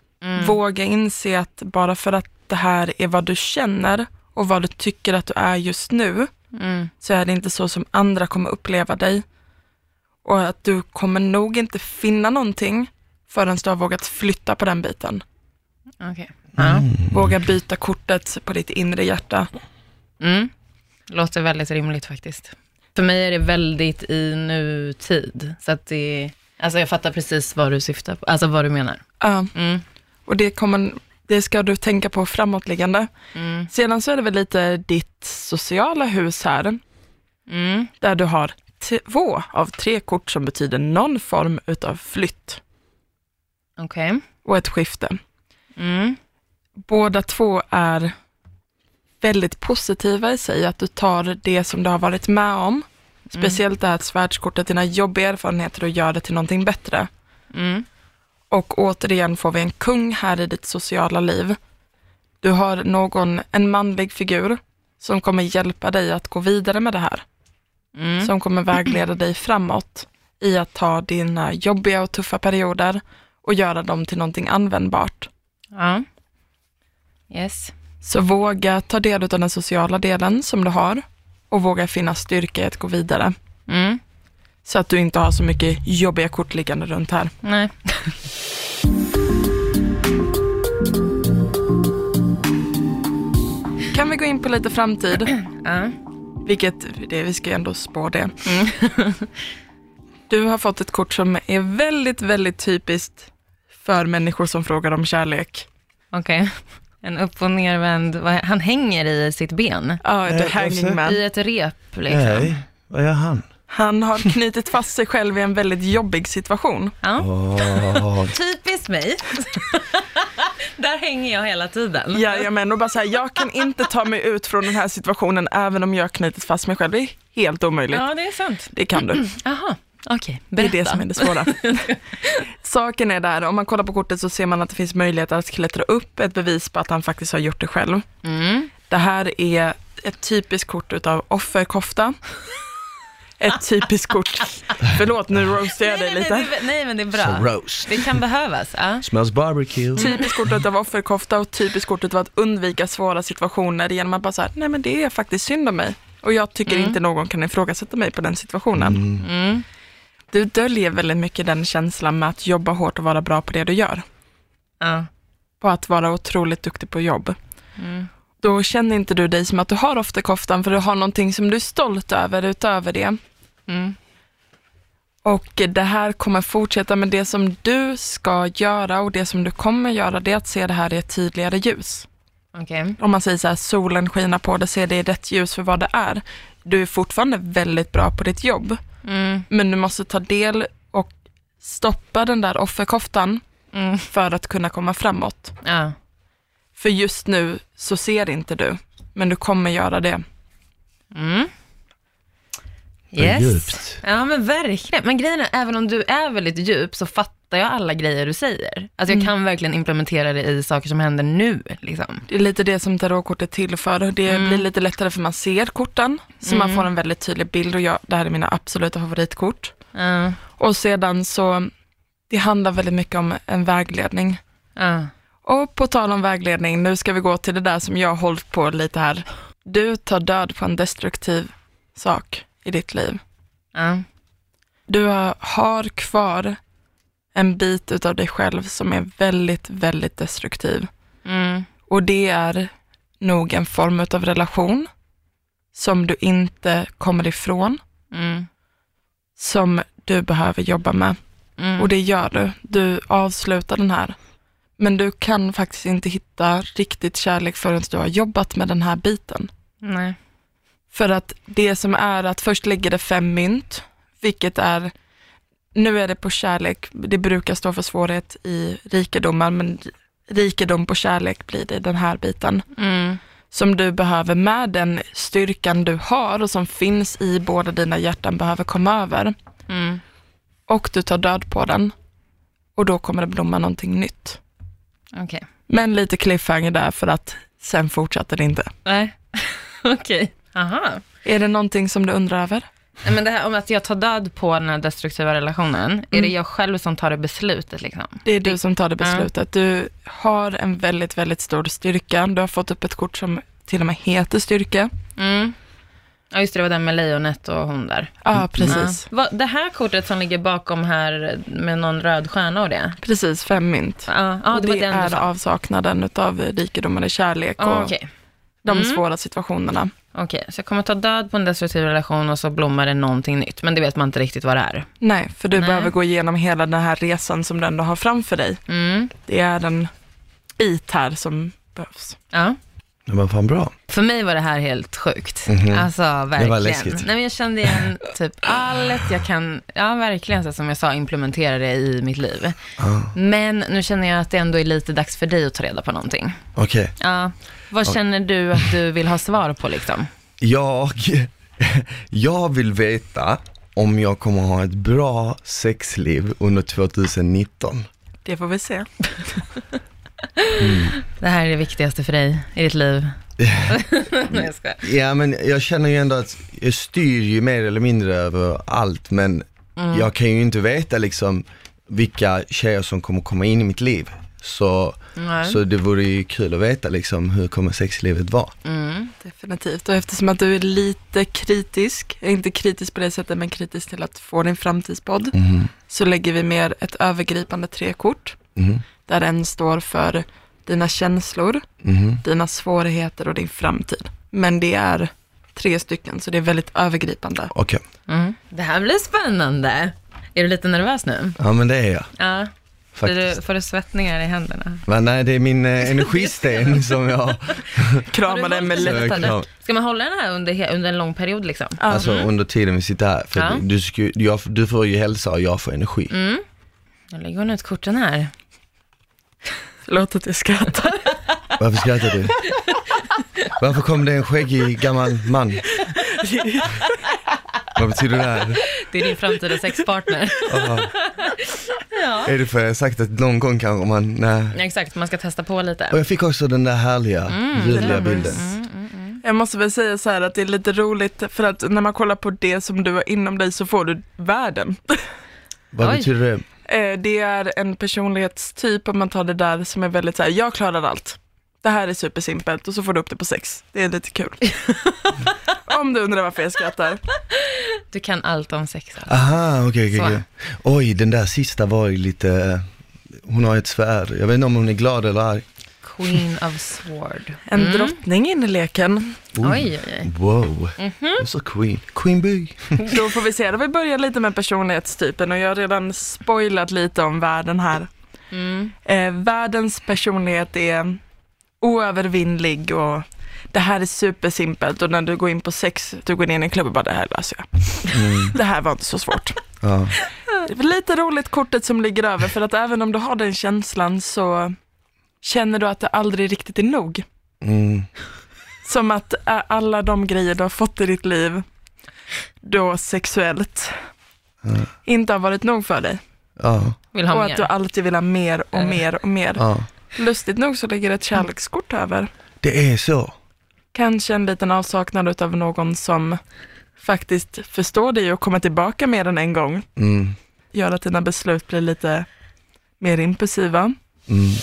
Speaker 3: Våga inse att bara för att det här är vad du känner och vad du tycker att du är just nu,
Speaker 2: Mm.
Speaker 3: så är det inte så som andra kommer uppleva dig. Och att du kommer nog inte finna någonting förrän du har vågat flytta på den biten.
Speaker 2: Okej. Ja.
Speaker 3: Våga byta kortet på ditt inre hjärta.
Speaker 2: Mm. Låter väldigt rimligt faktiskt. För mig är det väldigt i nutid. Så att det, alltså jag fattar precis vad du syftar på, alltså vad du menar.
Speaker 3: Ja,
Speaker 2: Mm.
Speaker 3: och det, kommer, det ska du tänka på framåtliggande.
Speaker 2: Mm.
Speaker 3: Sedan så är det väl lite ditt sociala hus här,
Speaker 2: Mm.
Speaker 3: där du har två av tre kort som betyder någon form utav flytt
Speaker 2: Okej.
Speaker 3: och ett skifte.
Speaker 2: Mm.
Speaker 3: Båda två är väldigt positiva i sig, att du tar det som du har varit med om, speciellt det här svärdskortet, dina jobbiga erfarenheter och gör det till någonting bättre.
Speaker 2: Mm.
Speaker 3: Och återigen får vi en kung här i ditt sociala liv. Du har någon, en manlig figur som kommer hjälpa dig att gå vidare med det här.
Speaker 2: Mm.
Speaker 3: Som kommer vägleda dig framåt i att ta dina jobbiga och tuffa perioder och göra dem till någonting användbart.
Speaker 2: Ja. Yes.
Speaker 3: Så våga ta del av den sociala delen som du har och våga finna styrka i att gå vidare.
Speaker 2: Mm.
Speaker 3: Så att du inte har så mycket jobbiga kort liggande runt här.
Speaker 2: Nej.
Speaker 3: Kan vi gå in på lite framtid?
Speaker 2: [CLEARS THROAT] Ja.
Speaker 3: Vilket, det, vi ska ju ändå spå det.
Speaker 2: Mm.
Speaker 3: [LAUGHS] du har fått ett kort som är väldigt, väldigt typiskt för människor som frågar om kärlek.
Speaker 2: Okej. En upp och nervänd, vad- han hänger i sitt ben.
Speaker 3: Ja,
Speaker 1: Eh,
Speaker 3: The
Speaker 1: jag ser-
Speaker 2: alltså.
Speaker 3: Hanging Man.
Speaker 2: I ett rep liksom.
Speaker 1: Nej, vad gör han?
Speaker 3: Han har knutit fast sig själv i en väldigt jobbig situation.
Speaker 2: Ja.
Speaker 1: Åh,
Speaker 2: Typiskt mig. [LAUGHS] Där hänger jag hela tiden.
Speaker 3: Jajamän, och bara så här, jag kan inte ta mig ut från den här situationen även om jag har knutit fast mig själv. Det är helt omöjligt.
Speaker 2: Ja, det är sant.
Speaker 3: Det kan du.
Speaker 2: Aha, okej.
Speaker 3: Det är
Speaker 2: Berätta.
Speaker 3: det som är det
Speaker 2: [LAUGHS]
Speaker 3: svåra. Saken är där, om man kollar på kortet så ser man att det finns möjlighet att klättra upp, ett bevis på att han faktiskt har gjort det själv.
Speaker 2: Mm.
Speaker 3: Det här är ett typiskt kort utav offerkofta.
Speaker 2: [LAUGHS]
Speaker 3: Ett typiskt kort. Förlåt, nu roastar jag
Speaker 2: Nej,
Speaker 3: dig
Speaker 2: nej, nej,
Speaker 3: lite.
Speaker 2: det, nej, men det är
Speaker 1: så [LAUGHS]
Speaker 2: bra.
Speaker 1: roast.
Speaker 2: Det kan behövas. Ja.
Speaker 1: Smells barbecue.
Speaker 3: Typiskt kort utav offerkofta och typiskt kort utav att undvika svåra situationer genom att bara säga, nej men det är faktiskt synd om mig. Och jag tycker inte någon kan ifrågasätta mig på den situationen.
Speaker 2: Mm.
Speaker 3: Du döljer väldigt mycket den känslan med att jobba hårt och vara bra på det du gör.
Speaker 2: Ja.
Speaker 3: på att vara otroligt duktig på jobb.
Speaker 2: Mm.
Speaker 3: Då känner inte du dig som att du har offerkoftan för du har någonting som du är stolt över utöver det.
Speaker 2: Mm.
Speaker 3: Och det här kommer fortsätta men det som du ska göra och det som du kommer göra det är att se det här i ett tydligare ljus.
Speaker 2: Okej.
Speaker 3: Om man säger så här, solen skiner på dig, se det i rätt ljus för vad det är. Du är fortfarande väldigt bra på ditt jobb,
Speaker 2: Mm.
Speaker 3: men du måste ta del och stoppa den där offerkoftan
Speaker 2: Mm.
Speaker 3: för att kunna komma framåt.
Speaker 2: Ja.
Speaker 3: För just nu så ser inte du, men du kommer göra det.
Speaker 2: Mm.
Speaker 1: Vad
Speaker 2: Yes.
Speaker 1: djupt.
Speaker 2: Ja men verkligen. Men grejen är, även om du är väldigt djup så fattar jag alla grejer du säger. Alltså jag kan verkligen implementera det i saker som händer nu. Liksom.
Speaker 3: Det är lite det som tarotkortet tillför. Det
Speaker 2: Mm.
Speaker 3: blir lite lättare för man ser korten, så man får en väldigt tydlig bild och jag, det här är mina absoluta favoritkort.
Speaker 2: Ja.
Speaker 3: Och sedan så, det handlar väldigt mycket om en vägledning.
Speaker 2: Ja.
Speaker 3: Och på tal om vägledning, nu ska vi gå till det där som jag har hållit på lite här. Du tar död på en destruktiv sak i ditt liv.
Speaker 2: Ja.
Speaker 3: Du har- har kvar en bit utav dig själv som är väldigt, väldigt destruktiv.
Speaker 2: Mm.
Speaker 3: Och det är nog en form av relation som du inte kommer ifrån,
Speaker 2: Mm.
Speaker 3: som du behöver jobba med.
Speaker 2: Mm.
Speaker 3: Och det gör du. Du avslutar den här. Men du kan faktiskt inte hitta riktigt kärlek förrän du har jobbat med den här biten.
Speaker 2: Nej.
Speaker 3: För att det som är att först ligger det fem mynt, vilket är, nu är det på kärlek, det brukar stå för svårighet i rikedomar, men rikedom på kärlek blir det den här biten.
Speaker 2: Mm.
Speaker 3: Som du behöver med den styrkan du har och som finns i båda dina hjärtan behöver komma över.
Speaker 2: Mm.
Speaker 3: Och du tar död på den och då kommer det blomma någonting nytt.
Speaker 2: Okej.
Speaker 3: Men lite cliffhanger där för att sen fortsätter det inte.
Speaker 2: Nej. Okej. Aha.
Speaker 3: Är det någonting som du undrar över?
Speaker 2: Nej, Men det här om att jag tar död på den här destruktiva relationen, är det jag själv som tar det beslutet liksom?
Speaker 3: Det är du som tar det beslutet. Du har en väldigt, väldigt stor styrka. Du har fått upp ett kort som till och med heter styrka.
Speaker 2: Mm. Ja just det, det var den med lejonet och hon där.
Speaker 3: Ja, precis.
Speaker 2: Ja. Vad- Det här kortet som ligger bakom här med någon röd stjärna och det?
Speaker 3: Precis, fem mynt.
Speaker 2: Ja, ja
Speaker 3: och
Speaker 2: det
Speaker 3: det,
Speaker 2: var den du
Speaker 3: är
Speaker 2: sa.
Speaker 3: avsaknaden av rikedomar i kärlek
Speaker 2: Ja,
Speaker 3: och
Speaker 2: Okej,
Speaker 3: de
Speaker 2: Mm.
Speaker 3: svåra situationerna.
Speaker 2: Okej, så jag kommer ta död på en destruktiv relation och så blommar det någonting nytt, men det vet man inte riktigt vad det är.
Speaker 3: Nej, för du
Speaker 2: Nej.
Speaker 3: behöver gå igenom hela den här resan som du ändå har framför dig.
Speaker 2: Mm.
Speaker 3: Det är en bit här som behövs.
Speaker 2: Ja.
Speaker 1: Ja, Men fan bra.
Speaker 2: För mig var det här helt sjukt.
Speaker 1: Mhm.
Speaker 2: Alltså verkligen.
Speaker 1: läskigt.
Speaker 2: Nej, men jag kände igen typ allt jag kan, ja verkligen så som jag sa, implementera det i mitt liv.
Speaker 1: Ah,
Speaker 2: Men nu känner jag att det ändå är lite dags för dig att ta reda på någonting.
Speaker 1: Okej.
Speaker 2: Ja. Vad känner du att du vill ha svar på liksom?
Speaker 1: Jag, [LAUGHS] jag vill veta om jag kommer ha ett bra sexliv under 2019.
Speaker 3: Det får vi se.
Speaker 2: Det här är det viktigaste för dig i
Speaker 1: [LAUGHS]
Speaker 2: ditt liv. Nej, jag skojar.
Speaker 1: Ja men jag känner ju ändå att jag styr ju mer eller mindre över allt men
Speaker 2: Mm.
Speaker 1: jag kan ju inte veta liksom vilka tjejer som kommer komma in i mitt liv. Så,
Speaker 2: Nej.
Speaker 1: så det vore ju kul att veta liksom hur kommer sexlivet vara.
Speaker 2: Mm.
Speaker 3: Definitivt. Och eftersom att du är lite kritisk, inte kritisk på det sättet, men kritisk till att få din framtidspodd,
Speaker 1: Mhm.
Speaker 3: så lägger vi mer ett övergripande trekort,
Speaker 1: Mhm.
Speaker 3: där en står för dina känslor,
Speaker 1: Mhm.
Speaker 3: dina svårigheter och din framtid. Men det är tre stycken, så det är väldigt övergripande.
Speaker 1: Okej,
Speaker 2: Mm. Det här blir spännande. Är du lite nervös nu?
Speaker 1: ja men det är jag.
Speaker 2: Ja. Blir
Speaker 1: faktiskt.
Speaker 2: du, får du svettningar i händerna?
Speaker 1: Men nej, det är min
Speaker 2: [LAUGHS]
Speaker 1: eh, energisten som jag,
Speaker 3: Kramar den med
Speaker 1: hållit-
Speaker 3: lätt.
Speaker 1: lättare.
Speaker 2: lättare. Ska man hålla den här under, he- under en lång period liksom?
Speaker 1: alltså under tiden vi sitter här, för
Speaker 2: Ja. Mm.
Speaker 1: du, sku, jag, du får ju hälsa och jag får energi.
Speaker 2: Nu lägger hon ut korten här.
Speaker 3: Låt att jag skrattar.
Speaker 1: Varför skrattar
Speaker 2: [LAUGHS]
Speaker 1: du? Varför kom det en skäggig gammal
Speaker 2: [LAUGHS]
Speaker 1: man? Vad betyder det här?
Speaker 2: Det är din framtida [LAUGHS] sexpartner.
Speaker 1: Ja.
Speaker 2: Ja.
Speaker 1: Är det för jag har sagt att någon gång kanske man, nej.
Speaker 2: Exakt, man ska testa på
Speaker 1: Och
Speaker 2: lite.
Speaker 1: jag fick också den där härliga,
Speaker 2: Mm,
Speaker 1: ljuvliga bilden.
Speaker 3: Jag måste väl säga så här att det är lite roligt för att när man kollar på det som du har inom dig så får du världen.
Speaker 1: Vad
Speaker 2: Mm. Oj.
Speaker 1: betyder det?
Speaker 3: Eh, Det är en personlighetstyp om man tar det där som är väldigt så här, jag klarar allt. Det här är supersimpelt och så får du upp det på sex. Det är lite kul. om du undrar varför jag skrattar.
Speaker 2: Du kan allt om sex. Alltså.
Speaker 1: Aha, okej, okej,
Speaker 2: Så.
Speaker 1: okej. Oj, den där sista var ju lite, eh, hon har ett svärd. Jag vet inte om hon är glad eller arg.
Speaker 2: Queen of sword. Mm.
Speaker 3: En drottning in i leken.
Speaker 1: Oj.
Speaker 2: Oj, Mhm. oj, oj.
Speaker 1: Wow, och så Queen, Queen Bee.
Speaker 3: Då får vi se, då vi börjar lite med personlighetstypen och jag har redan spoilat lite om världen här.
Speaker 2: Mm.
Speaker 3: Eh, världens personlighet är oövervinnlig och det här är supersimpelt och när du går in på sex, du går in i en klubb och bara det här löser jag. Det här var inte så
Speaker 2: [LAUGHS]
Speaker 3: svårt.
Speaker 1: Mm. Ja.
Speaker 3: Det var lite roligt kortet som ligger över för att även om du har den känslan så känner du att det aldrig riktigt är nog.
Speaker 1: Mm.
Speaker 3: Som att eh, alla de grejer du har fått i ditt liv, då sexuellt,
Speaker 1: Mm.
Speaker 3: inte har varit nog för dig.
Speaker 1: Ja,
Speaker 2: Vill ha
Speaker 3: Och
Speaker 2: mer.
Speaker 3: att du alltid vill ha mer och
Speaker 2: Eh.
Speaker 3: mer och mer.
Speaker 1: ja,
Speaker 3: Lustigt nog så ligger ett kärlekskort över.
Speaker 1: det är så.
Speaker 3: Kanske en liten avsaknad av någon som faktiskt förstår dig och kommer tillbaka mer än en gång.
Speaker 1: Mm.
Speaker 3: Gör att dina beslut blir lite mer impulsiva.
Speaker 1: Mm.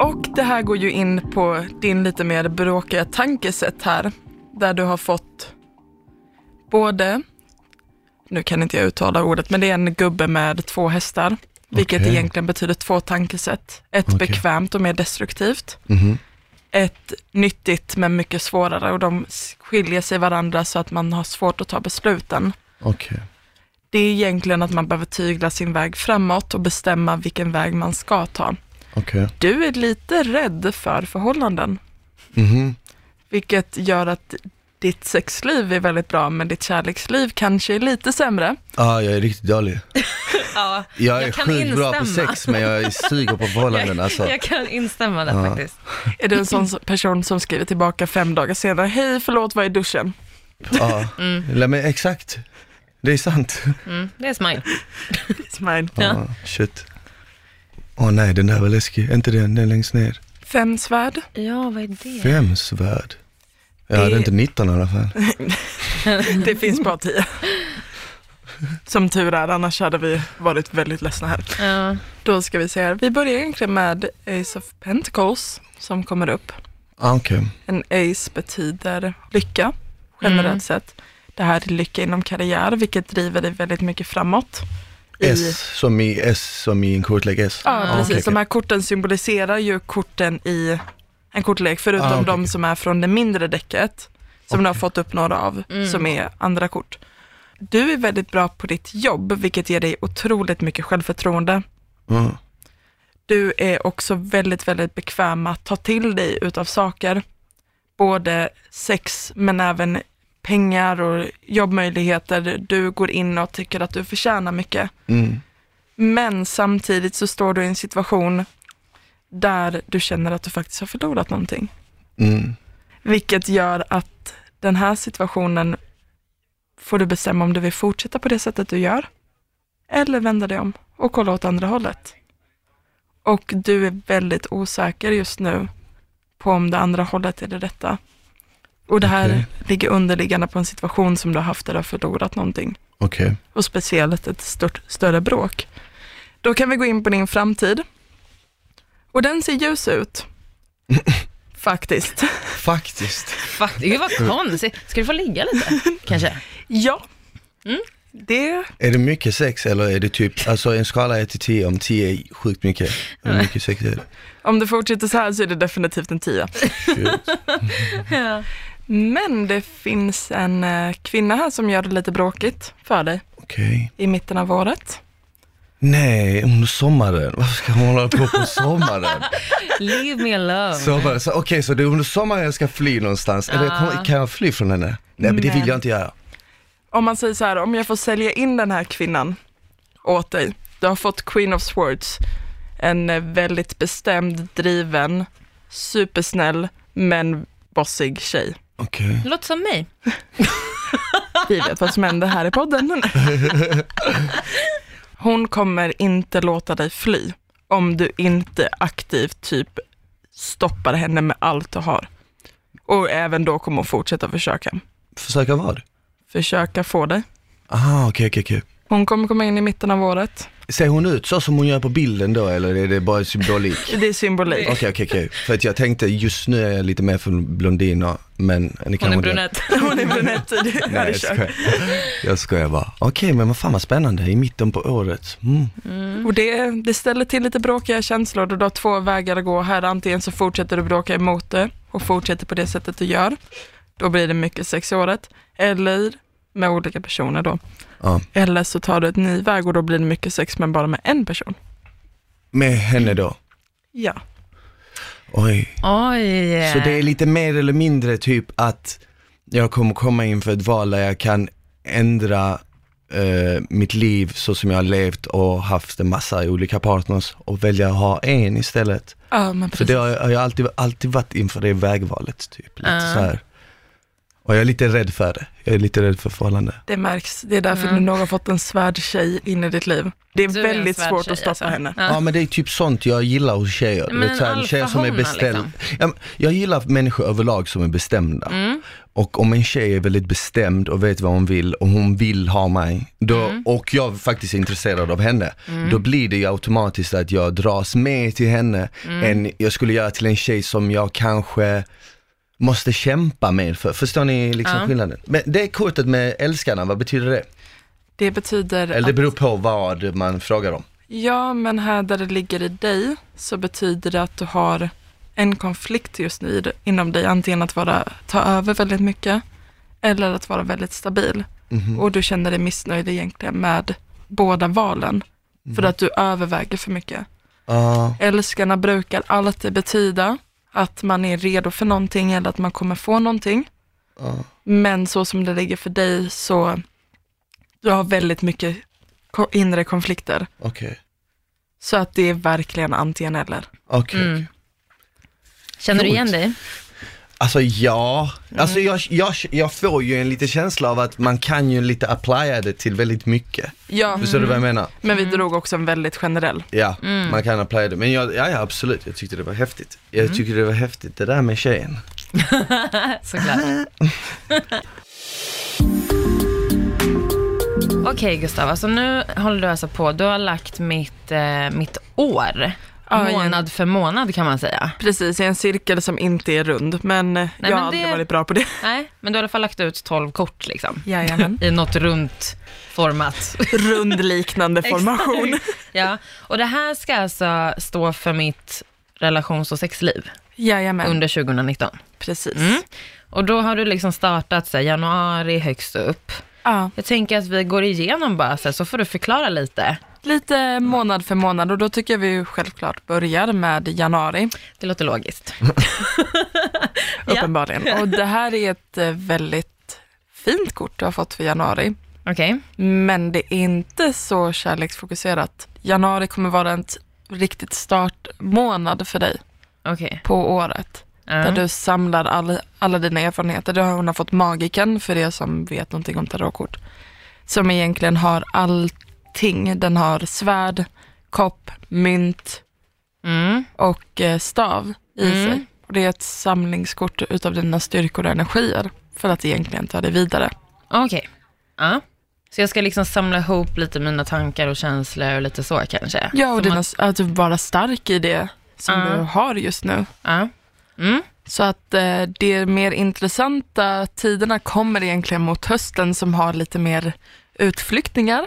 Speaker 3: Och det här går ju in på din lite mer bråkiga tankesätt här. Där du har fått både, nu kan inte jag uttala ordet, men det är en gubbe med två hästar. Vilket
Speaker 1: Okej.
Speaker 3: egentligen betyder två tankesätt. Ett
Speaker 1: Okej.
Speaker 3: bekvämt och mer destruktivt.
Speaker 1: Mhm.
Speaker 3: Ett nyttigt men mycket svårare och de s- skiljer sig varandra så att man har svårt att ta besluten.
Speaker 1: Okej.
Speaker 3: Det är egentligen att man behöver tygla sin väg framåt och bestämma vilken väg man ska ta.
Speaker 1: Okej.
Speaker 3: Du är lite rädd för förhållanden.
Speaker 1: Mhm.
Speaker 3: Vilket gör att ditt sexliv är väldigt bra, men ditt kärleksliv kanske är lite sämre.
Speaker 1: Ja, jag är riktigt dålig.
Speaker 2: Ja,
Speaker 1: Jag är
Speaker 2: Jag kan
Speaker 1: sjukt bra på
Speaker 2: instämma.
Speaker 1: sex, men jag suger på förhållanden alltså.
Speaker 2: [LAUGHS] jag kan instämma där
Speaker 1: Ja.
Speaker 2: faktiskt.
Speaker 3: Är du en sån person som skriver tillbaka fem dagar senare, hej förlåt var är duschen?
Speaker 1: Ja, Nej, men exakt. Det är sant.
Speaker 2: Mm, det är smile.
Speaker 3: Smile.
Speaker 1: Ja, shit. Åh nej, den där var läskig. Är inte den, den längst ner?
Speaker 3: Fem svärd.
Speaker 2: Ja, vad är det?
Speaker 1: Fem svärd. Jag hade
Speaker 3: Det-
Speaker 1: inte 19 i alla fall.
Speaker 3: Det finns bara tio. Som tur är, annars hade vi varit väldigt ledsna här.
Speaker 2: Ja.
Speaker 3: Då ska vi se här. Vi börjar egentligen med Ace of Pentacles som kommer upp.
Speaker 1: Ah, Okej.
Speaker 3: En ace betyder lycka, generellt
Speaker 2: Mm.
Speaker 3: sett. Det här är lycka inom karriär, vilket driver dig väldigt mycket framåt. I-
Speaker 1: S som i S som i en kortlek S.
Speaker 3: Ja,
Speaker 2: Ah,
Speaker 3: precis.
Speaker 1: okej, okej.
Speaker 3: De här korten symboliserar ju korten i en kortlek, förutom
Speaker 1: Ah, okej,
Speaker 3: de
Speaker 1: okej.
Speaker 3: som är från det mindre däcket, som du har fått upp några av,
Speaker 1: Mm.
Speaker 3: som är andra kort. Du är väldigt bra på ditt jobb, vilket ger dig otroligt mycket självförtroende.
Speaker 1: Mm.
Speaker 3: Du är också väldigt, väldigt bekväm att ta till dig utav saker. Både sex, men även pengar och jobbmöjligheter. Du går in och tycker att du förtjänar mycket.
Speaker 1: Mm.
Speaker 3: Men samtidigt så står du i en situation där du känner att du faktiskt har förlorat någonting.
Speaker 1: Mm.
Speaker 3: Vilket gör att den här situationen får du bestämma om du vill fortsätta på det sättet du gör eller vända dig om och kolla åt andra hållet. Och du är väldigt osäker just nu på om det andra hållet är det rätta. Och det här
Speaker 1: Okej.
Speaker 3: ligger underliggande på en situation som du har haft där du har förlorat någonting
Speaker 1: Okej.
Speaker 3: och speciellt ett stort, större bråk. Då kan vi gå in på din framtid. Och den ser ljus ut. Faktiskt.
Speaker 1: Faktiskt.
Speaker 2: Fuck, gud vad konstigt. Ska du få ligga lite?
Speaker 1: [LAUGHS]
Speaker 2: Kanske?
Speaker 3: Ja.
Speaker 2: Mm.
Speaker 3: Det,
Speaker 1: Är det mycket sex eller är det typ, alltså en skala 1 till 10, om 10 är sjukt mycket, hur mycket sex är det?
Speaker 3: om det fortsätter så här så är det definitivt en tia.
Speaker 1: Shit.
Speaker 2: Ja.
Speaker 3: Men det finns en eh, kvinna här som gör det lite bråkigt för dig
Speaker 1: Okej.
Speaker 3: i mitten av året.
Speaker 1: Nej, under sommaren. Varför ska hon hålla på på
Speaker 2: [LAUGHS]
Speaker 1: sommaren?
Speaker 2: Leave me alone.
Speaker 1: Sommaren, så, Okej, så det är under sommaren jag ska fly någonstans. Eller
Speaker 2: Ja.
Speaker 1: kommer- kan jag fly från henne? Nej, men det vill
Speaker 3: Nej.
Speaker 1: jag inte göra.
Speaker 3: Om man säger så här, om jag får sälja in den här kvinnan åt dig. Du har fått Queen of Swords, en eh, väldigt bestämd, driven, supersnäll, men bossig tjej.
Speaker 1: Okej.
Speaker 2: Låt som mig.
Speaker 3: Vi vet vad som händer här i podden. [LAUGHS] Hon kommer inte låta dig fly om du inte aktivt typ stoppar henne med allt du har. Och även då kommer hon fortsätta försöka.
Speaker 1: Försöka vad?
Speaker 3: Försöka få dig.
Speaker 1: Ah, okej, okej, okej.
Speaker 3: Hon kommer komma in i mitten av året.
Speaker 1: Ser hon ut så som hon gör på bilden då, eller är det bara
Speaker 2: [LAUGHS]
Speaker 1: symbolik?
Speaker 3: Det är symbolik.
Speaker 1: Okej, okej, okej. För att jag tänkte just nu är jag lite mer för blondiner, men ni
Speaker 2: Hon
Speaker 1: kanske
Speaker 2: är
Speaker 1: inte-
Speaker 2: brunett.
Speaker 3: Hon är brunett. Det
Speaker 1: Nej,
Speaker 3: hade
Speaker 1: jag
Speaker 3: kört.
Speaker 1: skojar. Jag skojar bara. Okej, men vad fan vad spännande, i mitten på året. Mm.
Speaker 3: Och det, det ställer till lite bråkiga känslor och du har två vägar att gå här. Antingen så fortsätter du bråka emot det och fortsätter på det sättet du gör. Då blir det mycket sex i året. Eller med olika personer då.
Speaker 1: Ja.
Speaker 3: Eller så tar du ett ny väg och då blir det mycket sex men bara med en person.
Speaker 1: Med henne då?
Speaker 3: Ja.
Speaker 1: Oj.
Speaker 2: Oj.
Speaker 1: Så det är lite mer eller mindre typ att jag kommer komma inför ett val där jag kan ändra eh, mitt liv så som jag har levt och haft en massa olika partners och välja att ha en istället.
Speaker 3: Ja, men
Speaker 1: För
Speaker 3: precis.
Speaker 1: det har jag, har jag alltid, alltid varit inför det vägvalet typ. Lite
Speaker 2: Ja.
Speaker 1: så här. Och jag är lite rädd för det. Jag är lite rädd för förhållande.
Speaker 3: Det märks. Det är därför du nog har fått en svärdtjej in i ditt liv. Det Mm. är
Speaker 2: Du en
Speaker 3: väldigt
Speaker 2: svärd
Speaker 3: svårt
Speaker 2: tjej,
Speaker 3: att stoppa
Speaker 2: alltså.
Speaker 3: henne.
Speaker 1: Ja.
Speaker 2: Ja.
Speaker 1: men det är typ sånt jag gillar hos tjejer.
Speaker 2: Men
Speaker 1: Du vet, så här,
Speaker 2: en
Speaker 1: tjejer som är
Speaker 2: alfahona,
Speaker 1: bestämd.
Speaker 2: liksom. Mm.
Speaker 1: Ja, men jag gillar människor överlag som är bestämda. Och om en tjej är väldigt bestämd och vet vad hon vill och hon vill ha mig då,
Speaker 2: Mm.
Speaker 1: och jag faktiskt är intresserad av henne, då blir det ju automatiskt att jag dras med till henne
Speaker 2: Mm.
Speaker 1: än jag skulle göra till en tjej som jag kanske måste kämpa med för. Förstår ni liksom
Speaker 2: Ja.
Speaker 1: skillnaden? Men det kortet med älskarna, vad betyder det?
Speaker 3: Det betyder
Speaker 1: Eller det
Speaker 3: att,
Speaker 1: beror på vad man frågar om.
Speaker 3: ja men här där det ligger i dig så betyder det att du har en konflikt just nu i- inom dig. Antingen att vara, ta över väldigt mycket eller att vara väldigt stabil. Och du känner dig missnöjd egentligen med båda valen. För att du överväger för mycket.
Speaker 1: Ja,
Speaker 3: Älskarna brukar alltid betyda att man är redo för någonting eller att man kommer få någonting.
Speaker 1: ja.
Speaker 3: Men så som det ligger för dig så du har väldigt mycket ko- inre konflikter.
Speaker 1: okej.
Speaker 3: Så att det är verkligen antingen eller.
Speaker 1: Okej.
Speaker 2: Mm.
Speaker 1: okej.
Speaker 2: Känner du igen
Speaker 1: Coolt.
Speaker 2: dig?
Speaker 1: Alltså ja,
Speaker 2: Mm.
Speaker 1: alltså jag, jag, jag får ju en lite känsla av att man kan ju lite applya det till väldigt mycket.
Speaker 2: Mm.
Speaker 3: Ja,
Speaker 1: Förstår du vad jag menar?
Speaker 3: men vi drog också en väldigt generell.
Speaker 1: Ja,
Speaker 2: Mm.
Speaker 1: man kan applya det. Men jag, ja, ja absolut, jag tyckte det var häftigt. Jag
Speaker 2: Mm.
Speaker 1: tyckte det var häftigt det där med tjejen.
Speaker 2: [LAUGHS] Såklart. Okej Gustav, alltså nu håller du alltså på, du har lagt mitt, eh, mitt år,
Speaker 3: Ja, igen.
Speaker 2: månad för månad kan man säga.
Speaker 3: Precis, i en cirkel som inte är rund, men eh, jag
Speaker 2: men
Speaker 3: har aldrig
Speaker 2: det-
Speaker 3: varit bra på det.
Speaker 2: Nej, men du har i alla fall lagt ut 12 kort liksom,
Speaker 3: Jajamän.
Speaker 2: i något runt format.
Speaker 3: [LAUGHS] Rundliknande formation.
Speaker 2: [LAUGHS] ja, och det här ska alltså stå för mitt relations och sexliv
Speaker 3: Jajamän,
Speaker 2: under 2019.
Speaker 3: precis.
Speaker 2: Mm. Och då har du liksom startat så här, januari högst upp.
Speaker 3: Ja.
Speaker 2: Jag tänker att vi går igenom bara så, här, så får du förklara lite.
Speaker 3: Lite månad för månad och då tycker jag vi ju självklart börjar med januari,
Speaker 2: Det låter logiskt.
Speaker 3: Mm. uppenbarligen. Och det här är ett eh, väldigt fint kort du har fått för januari.
Speaker 2: Okej.
Speaker 3: Men det är inte så kärleksfokuserat. Januari kommer vara en t- riktigt startmånad för dig
Speaker 2: Okej.
Speaker 3: på året.
Speaker 2: Ja.
Speaker 3: Där du samlar all, alla dina erfarenheter. Du har, hon har fått magiken för er som vet någonting om tarotkort. Som egentligen har allting. Den har svärd, kopp, mynt
Speaker 2: Mm.
Speaker 3: och eh, stav i
Speaker 2: Mm.
Speaker 3: sig. Och det är ett samlingskort utav dina styrkor och energier. För att egentligen ta dig vidare.
Speaker 2: Okej. Ja. Så jag ska liksom samla ihop lite mina tankar och känslor och lite så kanske?
Speaker 3: Ja, och
Speaker 2: Som
Speaker 3: dina,
Speaker 2: att-
Speaker 3: att, du vara stark i det som
Speaker 2: Ja.
Speaker 3: du har just nu.
Speaker 2: Ja. Mm.
Speaker 3: Så att eh, de mer intressanta tiderna kommer egentligen mot hösten som har lite mer utflyktningar.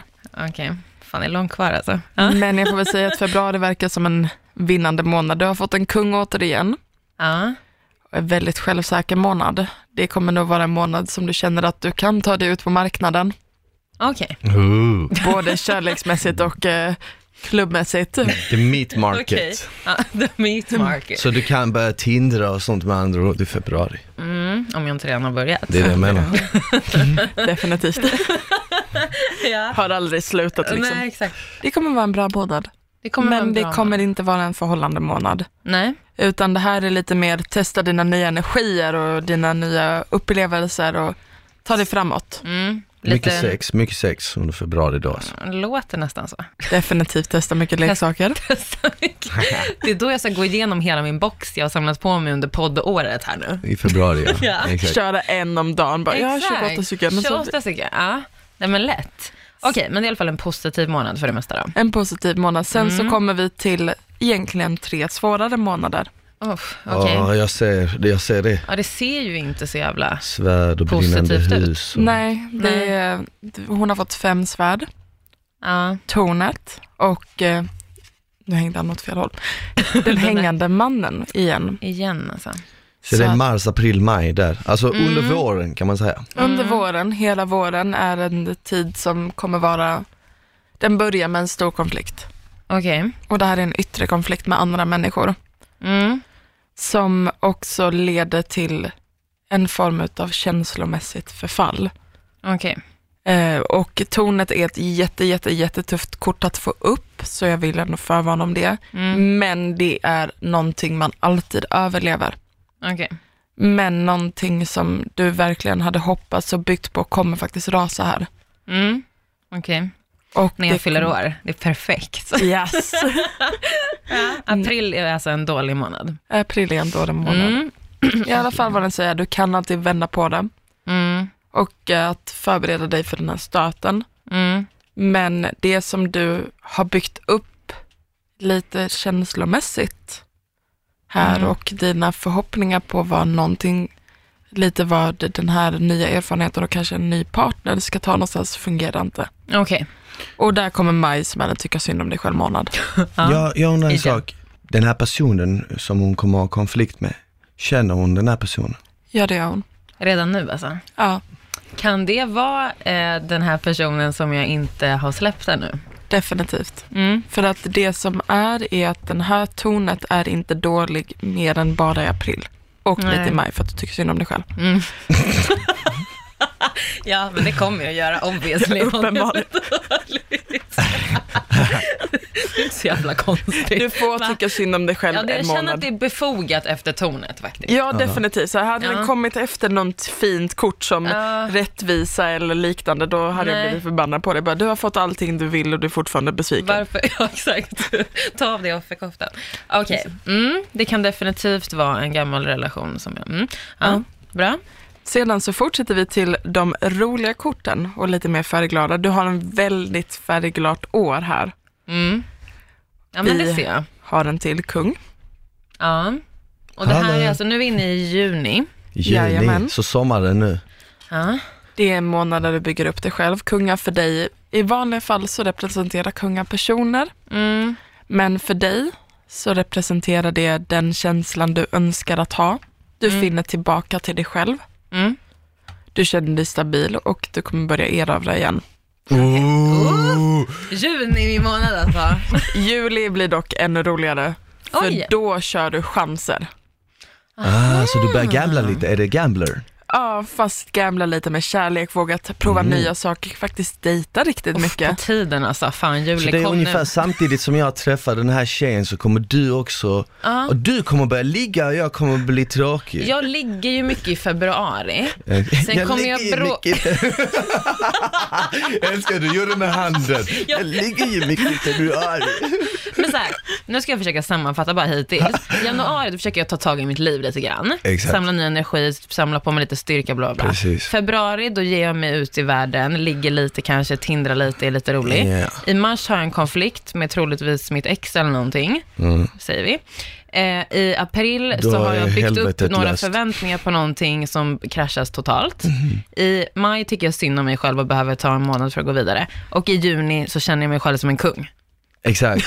Speaker 2: Okej. Fan, det är långt kvar alltså. Ja.
Speaker 3: Men jag får väl säga att februari verkar som en vinnande månad. Du har fått en kung återigen.
Speaker 2: Ja.
Speaker 3: väldigt självsäker månad. Det kommer nog vara en månad som du känner att du kan ta dig ut på marknaden,
Speaker 2: Okej.
Speaker 1: Ooh,
Speaker 3: både kärleksmässigt och eh, klubbmässigt.
Speaker 1: [LAUGHS] the meat market.
Speaker 2: Okej. Ja, [LAUGHS] the meat market.
Speaker 1: Så du kan börja tindra och sånt med andra ord i februari.
Speaker 2: Mm, om jag inte redan har börjat.
Speaker 1: Det är det jag menar.
Speaker 3: [LAUGHS] Definitivt.
Speaker 2: ja.
Speaker 3: Har aldrig slutat liksom.
Speaker 2: Nej, exakt.
Speaker 3: Det kommer vara en bra månad,
Speaker 2: Det kommer vara
Speaker 3: men
Speaker 2: en
Speaker 3: det
Speaker 2: bra
Speaker 3: kommer inte vara en förhållande månad.
Speaker 2: Nej.
Speaker 3: Utan det här är lite mer testa dina nya energier och dina nya upplevelser och ta dig framåt.
Speaker 2: Mm.
Speaker 1: Mycket
Speaker 2: Lite,
Speaker 1: sex, mycket sex under februari då. Alltså.
Speaker 2: låter nästan så. [LAUGHS]
Speaker 3: Definitivt testa mycket leksaker.
Speaker 2: det är då jag ska gå igenom hela min box jag har samlat på mig under poddåret här nu.
Speaker 1: I februari ja.
Speaker 2: [LAUGHS] Ja.
Speaker 1: Exakt.
Speaker 3: Köra en om dagen bara. Jag har 28 stycken. men så-
Speaker 2: 28 stycken, ja. Nej men lätt. Okej, men det är i alla fall en positiv månad för det mesta då.
Speaker 3: En positiv månad. Sen så kommer vi till egentligen tre svårare månader.
Speaker 2: Oh, Okej.
Speaker 1: Ja, jag ser, det- jag ser det.
Speaker 2: Ja, det ser ju inte så jävla...
Speaker 1: Svärd och brinnande
Speaker 2: Positivt ut.
Speaker 1: hus. Och...
Speaker 3: Nej, det är, hon har fått fem svärd,
Speaker 2: Ja.
Speaker 3: tornet och eh, nu hängde han åt fel håll. Den hängande mannen igen.
Speaker 2: Igen alltså.
Speaker 1: Så det är mars, april, maj där. Alltså
Speaker 2: Mm.
Speaker 1: under våren kan man säga.
Speaker 3: Under våren, hela våren, är en tid som kommer vara, den börjar med en stor konflikt.
Speaker 2: Okej.
Speaker 3: Och det här är en yttre konflikt med andra människor.
Speaker 2: Mm.
Speaker 3: Som också leder till en form av känslomässigt förfall.
Speaker 2: Okej.
Speaker 3: Eh, och tornet är ett jätte, jätte, jättetufft kort att få upp, så jag vill ändå förvarna om det.
Speaker 2: Mm.
Speaker 3: Men det är någonting man alltid överlever.
Speaker 2: Okej.
Speaker 3: Men någonting som du verkligen hade hoppats och byggt på kommer faktiskt rasa här.
Speaker 2: Mm. Okej.
Speaker 3: Och
Speaker 2: När jag
Speaker 3: det-
Speaker 2: fyller år. Det
Speaker 3: [LAUGHS]
Speaker 2: är perfekt.
Speaker 3: Yes.
Speaker 2: [LAUGHS] April är alltså en dålig månad.
Speaker 3: April är ändå den månaden.
Speaker 2: Mm.
Speaker 3: I alla fall vad den säger, du kan alltid vända på den.
Speaker 2: Mm.
Speaker 3: Och eh, att förbereda dig för den här stöten.
Speaker 2: Mm.
Speaker 3: Men det som du har byggt upp lite känslomässigt här
Speaker 2: Mm.
Speaker 3: och dina förhoppningar på vad någonting, lite vad den här nya erfarenheten och kanske en ny partner ska ta någonstans fungerar inte.
Speaker 2: Okej.
Speaker 3: Och där kommer maj som är en tycka synd om dig själv månad.
Speaker 2: Ja.
Speaker 1: Jag, jag undrar en
Speaker 2: Igen.
Speaker 1: sak. Den här personen som hon kommer ha konflikt med, känner hon den här personen?
Speaker 3: Ja det gör hon.
Speaker 2: Redan nu alltså.
Speaker 3: Ja,
Speaker 2: Kan det vara eh, den här personen som jag inte har släppt ännu?
Speaker 3: definitivt.
Speaker 2: Mm.
Speaker 3: För att det som är är att den här tonet är inte dålig mer än bara i april. Och lite
Speaker 2: Nej.
Speaker 3: i maj för att du tycker synd om dig själv.
Speaker 2: [LAUGHS] Ja, men det kommer jag göra obviously.
Speaker 3: [LAUGHS] Uppenbarligen.
Speaker 2: [LAUGHS] Det är så jävla konstigt.
Speaker 3: Du får tycka synd om dig själv
Speaker 2: ja, det,
Speaker 3: en
Speaker 2: jag känner att
Speaker 3: månad.
Speaker 2: det är befogat efter tonet faktiskt.
Speaker 3: Ja, definitivt. Så hade
Speaker 2: Ja.
Speaker 3: den kommit efter något fint kort som
Speaker 2: Ja.
Speaker 3: rättvisa eller liknande, då hade
Speaker 2: Nej.
Speaker 3: jag blivit förbannad på dig. Bara, Du har fått allting du vill och du är fortfarande besviken.
Speaker 2: Varför? [LAUGHS] Ja, exakt. Ta av dig offerkoftan. Okej, mm, det kan definitivt vara en gammal relation som jag... Mm. Ja,
Speaker 3: Ja.
Speaker 2: Bra.
Speaker 3: Sedan så fortsätter vi till de roliga korten och lite mer färgglada. Du har en väldigt färgglatt år här.
Speaker 2: Mm. Ja, men
Speaker 3: Vi-
Speaker 2: det ser jag.
Speaker 3: Har en till kung.
Speaker 2: Ja. Och det här
Speaker 1: Hallå.
Speaker 2: är alltså, nu är vi inne i juni.
Speaker 1: Juni,
Speaker 3: Jajamän.
Speaker 1: så sommaren nu.
Speaker 2: Ja.
Speaker 3: Det är en månad där du bygger upp dig själv. Kungar för dig, i vanliga fall så representerar kungar personer,
Speaker 2: Mm.
Speaker 3: men för dig så representerar det den känslan du önskar att ha. Du finner tillbaka till dig själv.
Speaker 2: Mm.
Speaker 3: Du känner dig stabil och du kommer börja erövra igen.
Speaker 1: Ooh.
Speaker 2: Juni i månad alltså.
Speaker 3: Juli blir dock ännu roligare, för
Speaker 2: Oj.
Speaker 3: då kör du chanser.
Speaker 1: Ah, så du börjar gambla lite, är det gambler?
Speaker 3: Ja, fast gamla lite med kärlek, våga ta- prova nya saker, faktiskt dejta riktigt
Speaker 2: På
Speaker 3: mycket.
Speaker 2: tiden alltså, fan
Speaker 1: Så
Speaker 2: juli
Speaker 1: det är
Speaker 2: kom
Speaker 1: ungefär
Speaker 2: nu.
Speaker 1: samtidigt som jag träffar den här tjejen så kommer du också, och du kommer börja ligga och jag kommer bli tråkig.
Speaker 2: Jag ligger ju mycket i februari.
Speaker 1: Eh,
Speaker 2: sen kommer jag
Speaker 1: ligger ju
Speaker 2: brå- [LAUGHS]
Speaker 1: mycket- Jag [LAUGHS] älskar du gör det med handen. Jag ligger ju mycket i februari.
Speaker 2: Men så här, nu ska jag försöka sammanfatta bara hittills. I Januari då försöker jag ta tag i mitt liv lite grann.
Speaker 1: Exakt.
Speaker 2: Samla ny energi, typ samla på mig lite styrka, bla bla, bla.
Speaker 1: Precis.
Speaker 2: Februari, då ger jag mig ut i världen, ligger lite kanske, tindrar lite, är lite rolig.
Speaker 1: Ja.
Speaker 2: I mars har jag en konflikt med troligtvis mitt ex eller någonting, säger vi. Eh, I april
Speaker 1: Mm. Då
Speaker 2: så har
Speaker 1: är
Speaker 2: jag byggt upp
Speaker 1: helvetet
Speaker 2: några
Speaker 1: löst.
Speaker 2: förväntningar på någonting som kraschas totalt.
Speaker 1: Mm.
Speaker 2: I maj tycker jag synd om mig själv och behöver ta en månad för att gå vidare. Och i juni så känner jag mig själv som en kung.
Speaker 1: Exakt,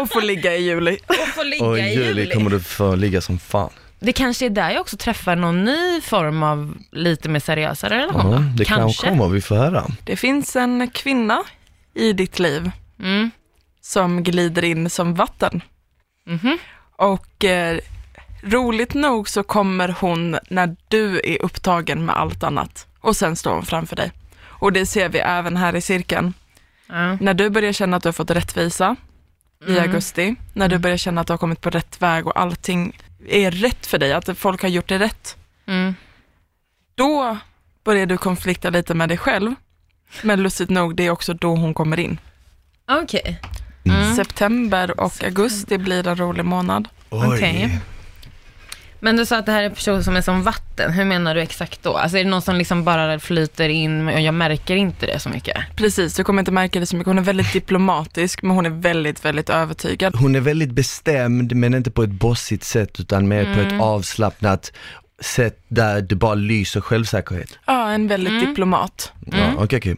Speaker 3: Och få ligga i juli.
Speaker 2: Och får ligga
Speaker 1: och i
Speaker 2: i
Speaker 1: juli kommer du få ligga som fan.
Speaker 2: Det kanske är där jag också träffar någon ny form av lite mer seriösare relation.
Speaker 1: Ja,
Speaker 2: va?
Speaker 1: Mm. det kan
Speaker 2: kanske.
Speaker 1: komma, vi får höra.
Speaker 3: Det finns en kvinna i ditt liv
Speaker 2: Mm.
Speaker 3: som glider in som vatten.
Speaker 2: Mhm.
Speaker 3: Och eh, roligt nog så kommer hon när du är upptagen med allt annat. Och sen står hon framför dig. Och det ser vi även här i cirkeln.
Speaker 2: Ja.
Speaker 3: När du börjar känna att du har fått rättvisa
Speaker 2: Mm.
Speaker 3: i augusti, när du börjar känna att du har kommit på rätt väg och allting är rätt för dig, att folk har gjort det rätt,
Speaker 2: Mm.
Speaker 3: då börjar du konflikta lite med dig själv. Men lustigt nog, det är också då hon kommer in.
Speaker 2: Okej.
Speaker 1: Mm.
Speaker 3: September och augusti blir en rolig månad.
Speaker 1: Oj.
Speaker 2: Okej. Men du sa att det här är personer som är som vatten. Hur menar du exakt då? Alltså är det någon som liksom bara flyter in och jag märker inte det så mycket?
Speaker 3: Precis, du kommer inte märka det så mycket. Hon är väldigt diplomatisk, men hon är väldigt, väldigt övertygad.
Speaker 1: Hon är väldigt bestämd, men inte på ett bossigt sätt, utan mer på
Speaker 2: Mm.
Speaker 1: ett avslappnat sätt där det bara lyser självsäkerhet.
Speaker 3: Ja, en väldigt diplomat.
Speaker 1: Ja,
Speaker 2: Mm.
Speaker 1: okej, okej.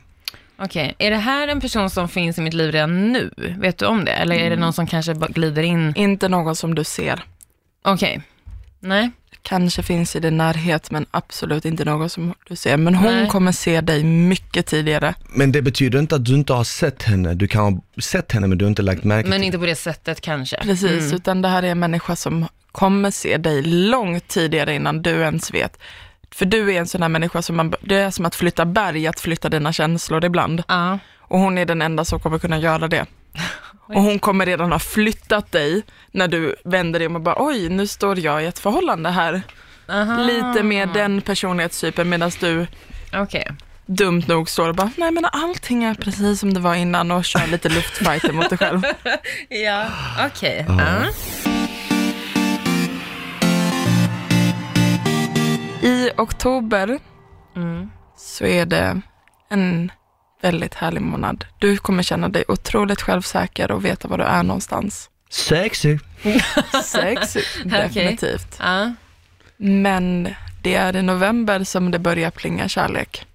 Speaker 2: Okej, är det här en person som finns i mitt liv redan nu? Vet du om det? Eller är det någon som kanske bara glider in?
Speaker 3: Inte någon som du ser.
Speaker 2: Okej. Nej.
Speaker 3: Kanske finns i din närhet, men absolut inte någon som du ser. Men hon
Speaker 2: Nej.
Speaker 3: kommer se dig mycket tidigare.
Speaker 1: Men det betyder inte att du inte har sett henne. Du kan ha sett henne, men du har inte lagt märke
Speaker 2: Men
Speaker 1: till
Speaker 2: inte på det sättet kanske?
Speaker 3: Precis, utan det här är en människa som kommer se dig långt tidigare innan du ens vet. För du är en sån här människa som man, det är som att flytta berg, att flytta dina känslor ibland.
Speaker 2: Ja.
Speaker 3: Och hon är den enda som kommer kunna göra det. Och hon kommer redan ha flyttat dig när du vänder dig om och bara oj, nu står jag i ett förhållande här.
Speaker 2: Aha.
Speaker 3: Lite mer den personlighetstypen medan du
Speaker 2: Okej.
Speaker 3: dumt nog står och bara nej men allting är precis som det var innan och kör lite luftfighter mot dig själv.
Speaker 2: Ja, okej. Ja.
Speaker 3: I oktober
Speaker 2: Mm.
Speaker 3: så är det en väldigt härlig månad. Du kommer känna dig otroligt självsäker och veta var du är
Speaker 2: [LAUGHS]
Speaker 3: någonstans.
Speaker 1: Sexy.
Speaker 3: Sexy, definitivt.
Speaker 2: Ja.
Speaker 3: Men det är i november som det börjar plinga kärlek.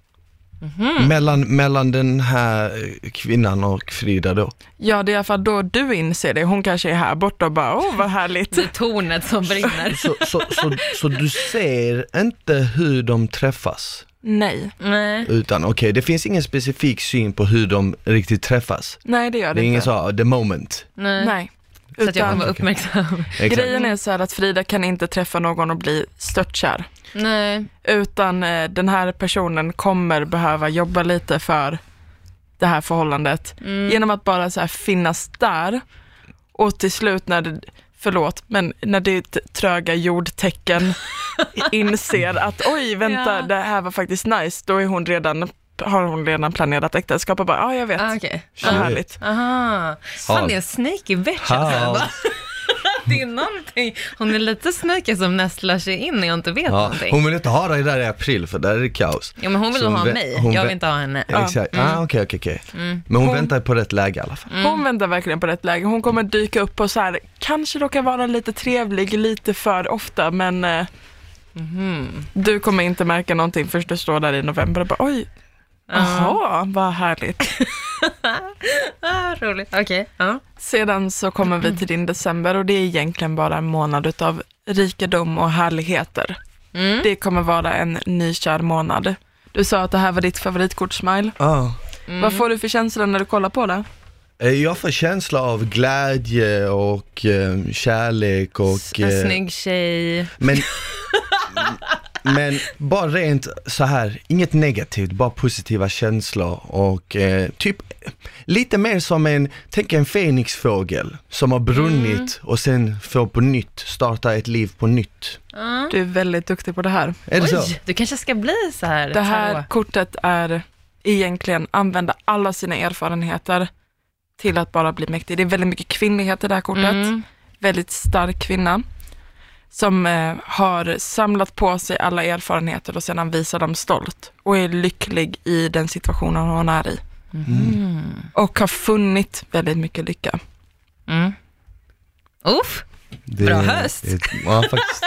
Speaker 2: Mm.
Speaker 1: Mellan, mellan den här eh, kvinnan och Frida då.
Speaker 3: Ja, det är i alla fall då du inser det. Hon kanske är här borta och bara, åh vad härligt.
Speaker 2: Det är tornet som brinner.
Speaker 1: Så, så, så, så du ser inte hur de träffas?
Speaker 3: Nej,
Speaker 2: Nej.
Speaker 1: Utan okej, det finns ingen specifik syn på hur de riktigt träffas.
Speaker 3: nej det gör
Speaker 1: Det
Speaker 3: det
Speaker 1: är ingen
Speaker 3: inte.
Speaker 1: så, här, the moment.
Speaker 2: Nej.
Speaker 3: Nej.
Speaker 2: Så att jag kommer
Speaker 3: Utan
Speaker 2: vara uppmärksam.
Speaker 1: Exakt.
Speaker 3: grejen är så här att Frida kan inte träffa någon och bli störtkär.
Speaker 2: Nej.
Speaker 3: Utan eh, den här personen kommer behöva jobba lite för det här förhållandet.
Speaker 2: mm.
Speaker 3: Genom att bara så här finnas där. Och till slut när det, förlåt, men när ditt tröga jordtecken inser att oj, vänta,
Speaker 2: Ja.
Speaker 3: det här var faktiskt nice. Då är hon redan, har hon redan planerat äktenskap och bara, ja jag vet,
Speaker 2: Ah,
Speaker 3: vad
Speaker 2: okej.
Speaker 1: Shit.
Speaker 3: härligt.
Speaker 2: Aha. Fan, det är en sneaky bitch alltså.
Speaker 1: Ja.
Speaker 2: Va? [LAUGHS] Det är någonting. Hon är lite sneaky som nästlar sig in när jag inte vet
Speaker 1: Ja,
Speaker 2: någonting.
Speaker 1: hon vill inte ha dig där i april för där är det kaos.
Speaker 2: Ja, men hon vill
Speaker 1: Så
Speaker 2: nog ha
Speaker 1: vä-
Speaker 2: mig,
Speaker 1: hon
Speaker 2: jag
Speaker 1: vä-
Speaker 2: vill inte ha henne.
Speaker 1: Exakt, ah, okej okej okej. Men hon, väntar på rätt läge i alla fall.
Speaker 3: Hon väntar verkligen på rätt läge. Hon kommer dyka upp och så här, kanske råkar vara lite trevlig lite för ofta, men eh,
Speaker 2: Mm.
Speaker 3: du kommer inte märka någonting först du står där i november och bara oj, jaha, vad härligt.
Speaker 2: Ah, roligt. Okej. Ja.
Speaker 3: Sedan så kommer
Speaker 2: [CLEARS THROAT]
Speaker 3: vi till din december och det är egentligen bara en månad utav rikedom och härligheter.
Speaker 2: Mm.
Speaker 3: Det kommer vara en nykär månad. Du sa att det här var ditt favoritkort, Smile.
Speaker 1: Ah.
Speaker 2: Mm.
Speaker 3: Vad får du för känsla när du kollar på det?
Speaker 1: Eh, Jag får känsla av glädje och eh, kärlek och...
Speaker 2: En
Speaker 1: eh,
Speaker 2: snygg tjej.
Speaker 1: Men, men bara rent så här, inget negativt, bara positiva känslor och eh, typ lite mer som en, tänk en fenixfågel som har brunnit
Speaker 2: Mm.
Speaker 1: och sen får på nytt, starta ett liv på nytt.
Speaker 2: Ja.
Speaker 3: Du är väldigt duktig på det här.
Speaker 1: Är det så?
Speaker 2: Oj, du kanske ska bli så här.
Speaker 3: Det här
Speaker 2: tarot.
Speaker 3: kortet är egentligen använda alla sina erfarenheter till att bara bli mäktig. Det är väldigt mycket kvinnlighet i det här kortet.
Speaker 2: Mm.
Speaker 3: Väldigt stark kvinna som eh, har samlat på sig alla erfarenheter och sedan visar dem stolt och är lycklig i den situationen hon är i. Och har funnit väldigt mycket lycka.
Speaker 2: Mm. Uff,
Speaker 1: Det-
Speaker 2: Bra höst.
Speaker 1: det- ja,
Speaker 2: [LAUGHS]
Speaker 1: faktiskt.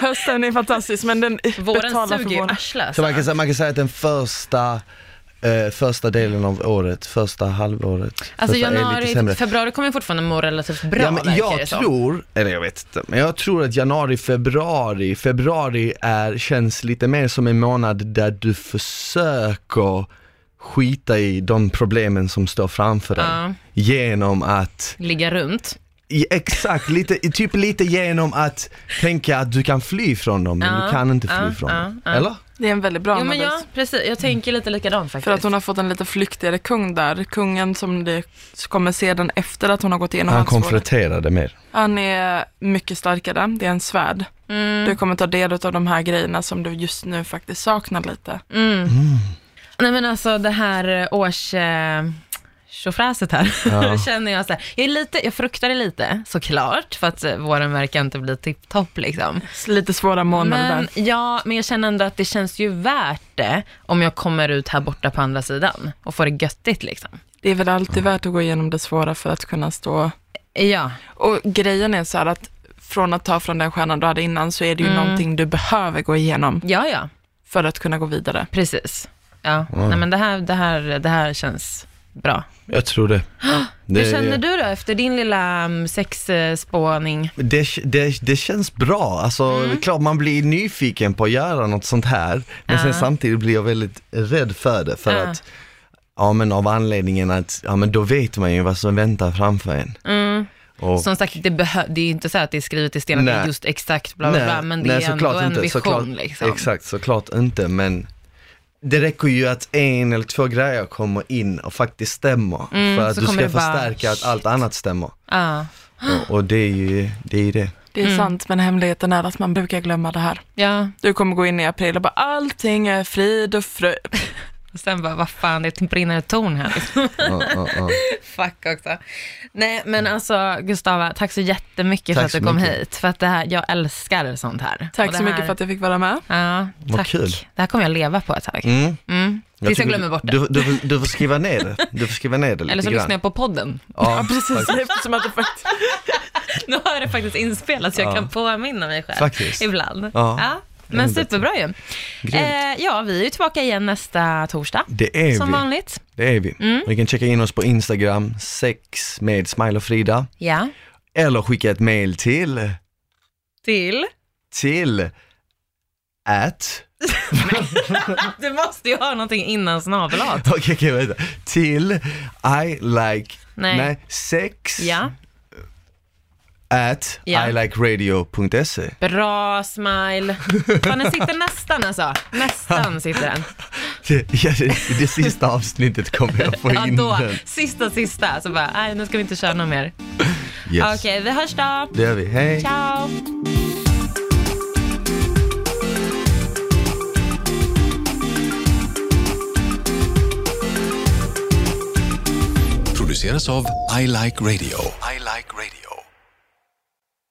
Speaker 3: Hösten är fantastisk men den
Speaker 2: våren
Speaker 3: betalar
Speaker 2: suger
Speaker 3: för
Speaker 2: ju
Speaker 3: våren.
Speaker 2: arsle.
Speaker 1: Så
Speaker 2: alltså.
Speaker 1: man kan, säga- man kan säga att den första eh, första delen av året, första halvåret.
Speaker 2: Alltså
Speaker 1: första är lite
Speaker 2: januari,
Speaker 1: sämre.
Speaker 2: februari kommer jag fortfarande må relativt bra
Speaker 1: ja, men
Speaker 2: verkar
Speaker 1: jag
Speaker 2: det som.
Speaker 1: tror, eller jag vet inte, men jag tror att januari, februari, februari är, känns lite mer som en månad där du försöker skita i de problemen som står framför dig.
Speaker 2: Ja,
Speaker 1: Genom att,
Speaker 2: ligga runt.
Speaker 1: i, exakt, lite, i typ lite genom att tänka att du kan fly från dem, men
Speaker 2: Ja,
Speaker 1: du kan inte fly
Speaker 2: ja,
Speaker 1: från
Speaker 2: ja,
Speaker 1: dem.
Speaker 2: ja.
Speaker 1: Eller?
Speaker 3: Det är en väldigt bra
Speaker 2: Jo men
Speaker 3: analys.
Speaker 2: ja, precis. Jag tänker lite likadant faktiskt.
Speaker 3: För att hon har fått en lite flyktigare kung där. Kungen som det kommer sedan efter att hon har gått igenom
Speaker 1: Han
Speaker 3: halsvården.
Speaker 1: konfronterade mer.
Speaker 3: Han är mycket starkare. Det är en svärd.
Speaker 2: mm.
Speaker 3: Du kommer ta del av de här grejerna som du just nu faktiskt saknar lite.
Speaker 2: Mm. Nej men alltså det här års... Eh, tjofräset här,
Speaker 1: Ja.
Speaker 2: [LAUGHS] känner jag så här. Jag, är lite, jag fruktar det lite såklart, för att eh, våren verkar inte bli tipptopp liksom.
Speaker 3: Lite svåra månader
Speaker 2: Men,
Speaker 3: där.
Speaker 2: ja, men jag känner ändå att det känns ju värt det om jag kommer ut här borta på andra sidan och får det göttigt liksom.
Speaker 3: Det är väl alltid värt att gå igenom det svåra för att kunna stå
Speaker 2: Ja,
Speaker 3: Och grejen är så här att från att ta från den stjärnan du hade innan så är det ju
Speaker 2: Mm.
Speaker 3: någonting du behöver gå igenom
Speaker 2: ja, ja,
Speaker 3: för att kunna gå vidare.
Speaker 2: precis. Ja, nej men det här, det här, det här känns bra.
Speaker 1: Jag tror det. det
Speaker 2: [GASPS] Hur känner du då efter din lilla mm, sexspåning?
Speaker 1: Det, det, det känns bra, alltså
Speaker 2: Mm.
Speaker 1: det är klart man blir nyfiken på att göra något sånt här Men sen
Speaker 2: Ja.
Speaker 1: samtidigt blir jag väldigt rädd för det för
Speaker 2: Ja.
Speaker 1: att Ja men av anledningen att, ja men då vet man ju vad som väntar framför en
Speaker 2: Mm.
Speaker 1: och,
Speaker 2: Som sagt, det, behö- det är ju inte så att det är skrivet i sten att det är
Speaker 1: Nej.
Speaker 2: just exakt bla bla, bla men det är ändå en vision
Speaker 1: såklart,
Speaker 2: liksom.
Speaker 1: Exakt, såklart inte men Det räcker ju att en eller två grejer kommer in och faktiskt stämmer
Speaker 2: Mm,
Speaker 1: för att
Speaker 2: så
Speaker 1: du
Speaker 2: kommer
Speaker 1: ska
Speaker 2: det bara,
Speaker 1: förstärka att allt annat
Speaker 2: [GASPS]
Speaker 1: stämmer
Speaker 2: Ja,
Speaker 1: och, och det är ju det, är ju det.
Speaker 3: Det är
Speaker 2: Mm.
Speaker 3: sant, men hemligheten är att man brukar glömma det här.
Speaker 2: ja.
Speaker 3: Du kommer gå in i april och bara allting är frid och
Speaker 2: [LAUGHS]
Speaker 3: fröjd.
Speaker 2: Och sen bara, vad fan, det brinner ett torn här liksom.
Speaker 1: [LAUGHS] Ja, ja,
Speaker 2: [LAUGHS]
Speaker 1: ja.
Speaker 2: Fuck också. Nej, men alltså Gustava, tack så
Speaker 1: Tack
Speaker 2: jättemycket för att du
Speaker 1: så
Speaker 2: kom
Speaker 1: mycket.
Speaker 2: hit. För att det här, jag älskar sånt här.
Speaker 3: Tack
Speaker 2: Och det
Speaker 3: så mycket
Speaker 2: här-
Speaker 3: för att jag fick vara med.
Speaker 2: Ja,
Speaker 1: Vad
Speaker 2: tack.
Speaker 1: kul.
Speaker 2: Det här kommer jag leva på ett tag.
Speaker 1: Mm.
Speaker 2: Mm. Tills jag
Speaker 1: tycker
Speaker 2: glömmer bort det.
Speaker 1: Du, du, du får skriva ner det, du får skriva ner det lite
Speaker 2: Eller så
Speaker 1: grann.
Speaker 2: lyssnar jag på podden. [LAUGHS]
Speaker 3: [LAUGHS] Ja,
Speaker 1: Ja,
Speaker 3: precis.
Speaker 1: fakt-
Speaker 3: Eftersom att det faktiskt...
Speaker 2: Nu har det faktiskt inspelat så jag
Speaker 1: Ja.
Speaker 2: kan påminna mig själv.
Speaker 1: Faktiskt.
Speaker 2: [LAUGHS] Ibland.
Speaker 1: Ja.
Speaker 2: Men
Speaker 1: Det är
Speaker 2: superbra ju.
Speaker 1: Grymt.
Speaker 2: Eh, ja, vi är ju tillbaka igen nästa torsdag.
Speaker 1: Det är
Speaker 2: Som
Speaker 1: vi,
Speaker 2: vanligt.
Speaker 1: det är vi.
Speaker 2: Mm.
Speaker 1: Ni kan checka in oss på Instagram, sex med Smile och Frida,
Speaker 2: Ja.
Speaker 1: eller skicka ett mail till,
Speaker 2: Till.
Speaker 1: till at, [LAUGHS]
Speaker 2: Du måste ju ha någonting
Speaker 1: [LAUGHS]
Speaker 2: innan snabelat.
Speaker 1: okej okej, vänta, till I like,
Speaker 2: Nej.
Speaker 1: sex
Speaker 2: Ja.
Speaker 1: at
Speaker 2: Ja.
Speaker 1: ilikeradio.se
Speaker 2: Bra smile. Fan, den sitter nästan alltså. Nästan sitter den.
Speaker 1: det, [LAUGHS] ja, det, det sista avsnittet kommer jag få
Speaker 2: [LAUGHS] Ja,
Speaker 1: in
Speaker 2: då.
Speaker 1: den.
Speaker 2: Sista, sista. Så bara, nej, nu ska vi inte köra något mer. Okej,
Speaker 1: Yes.
Speaker 2: vi hörs då.
Speaker 1: Det gör vi, hej!
Speaker 2: Ciao.
Speaker 4: produceras av I Like Radio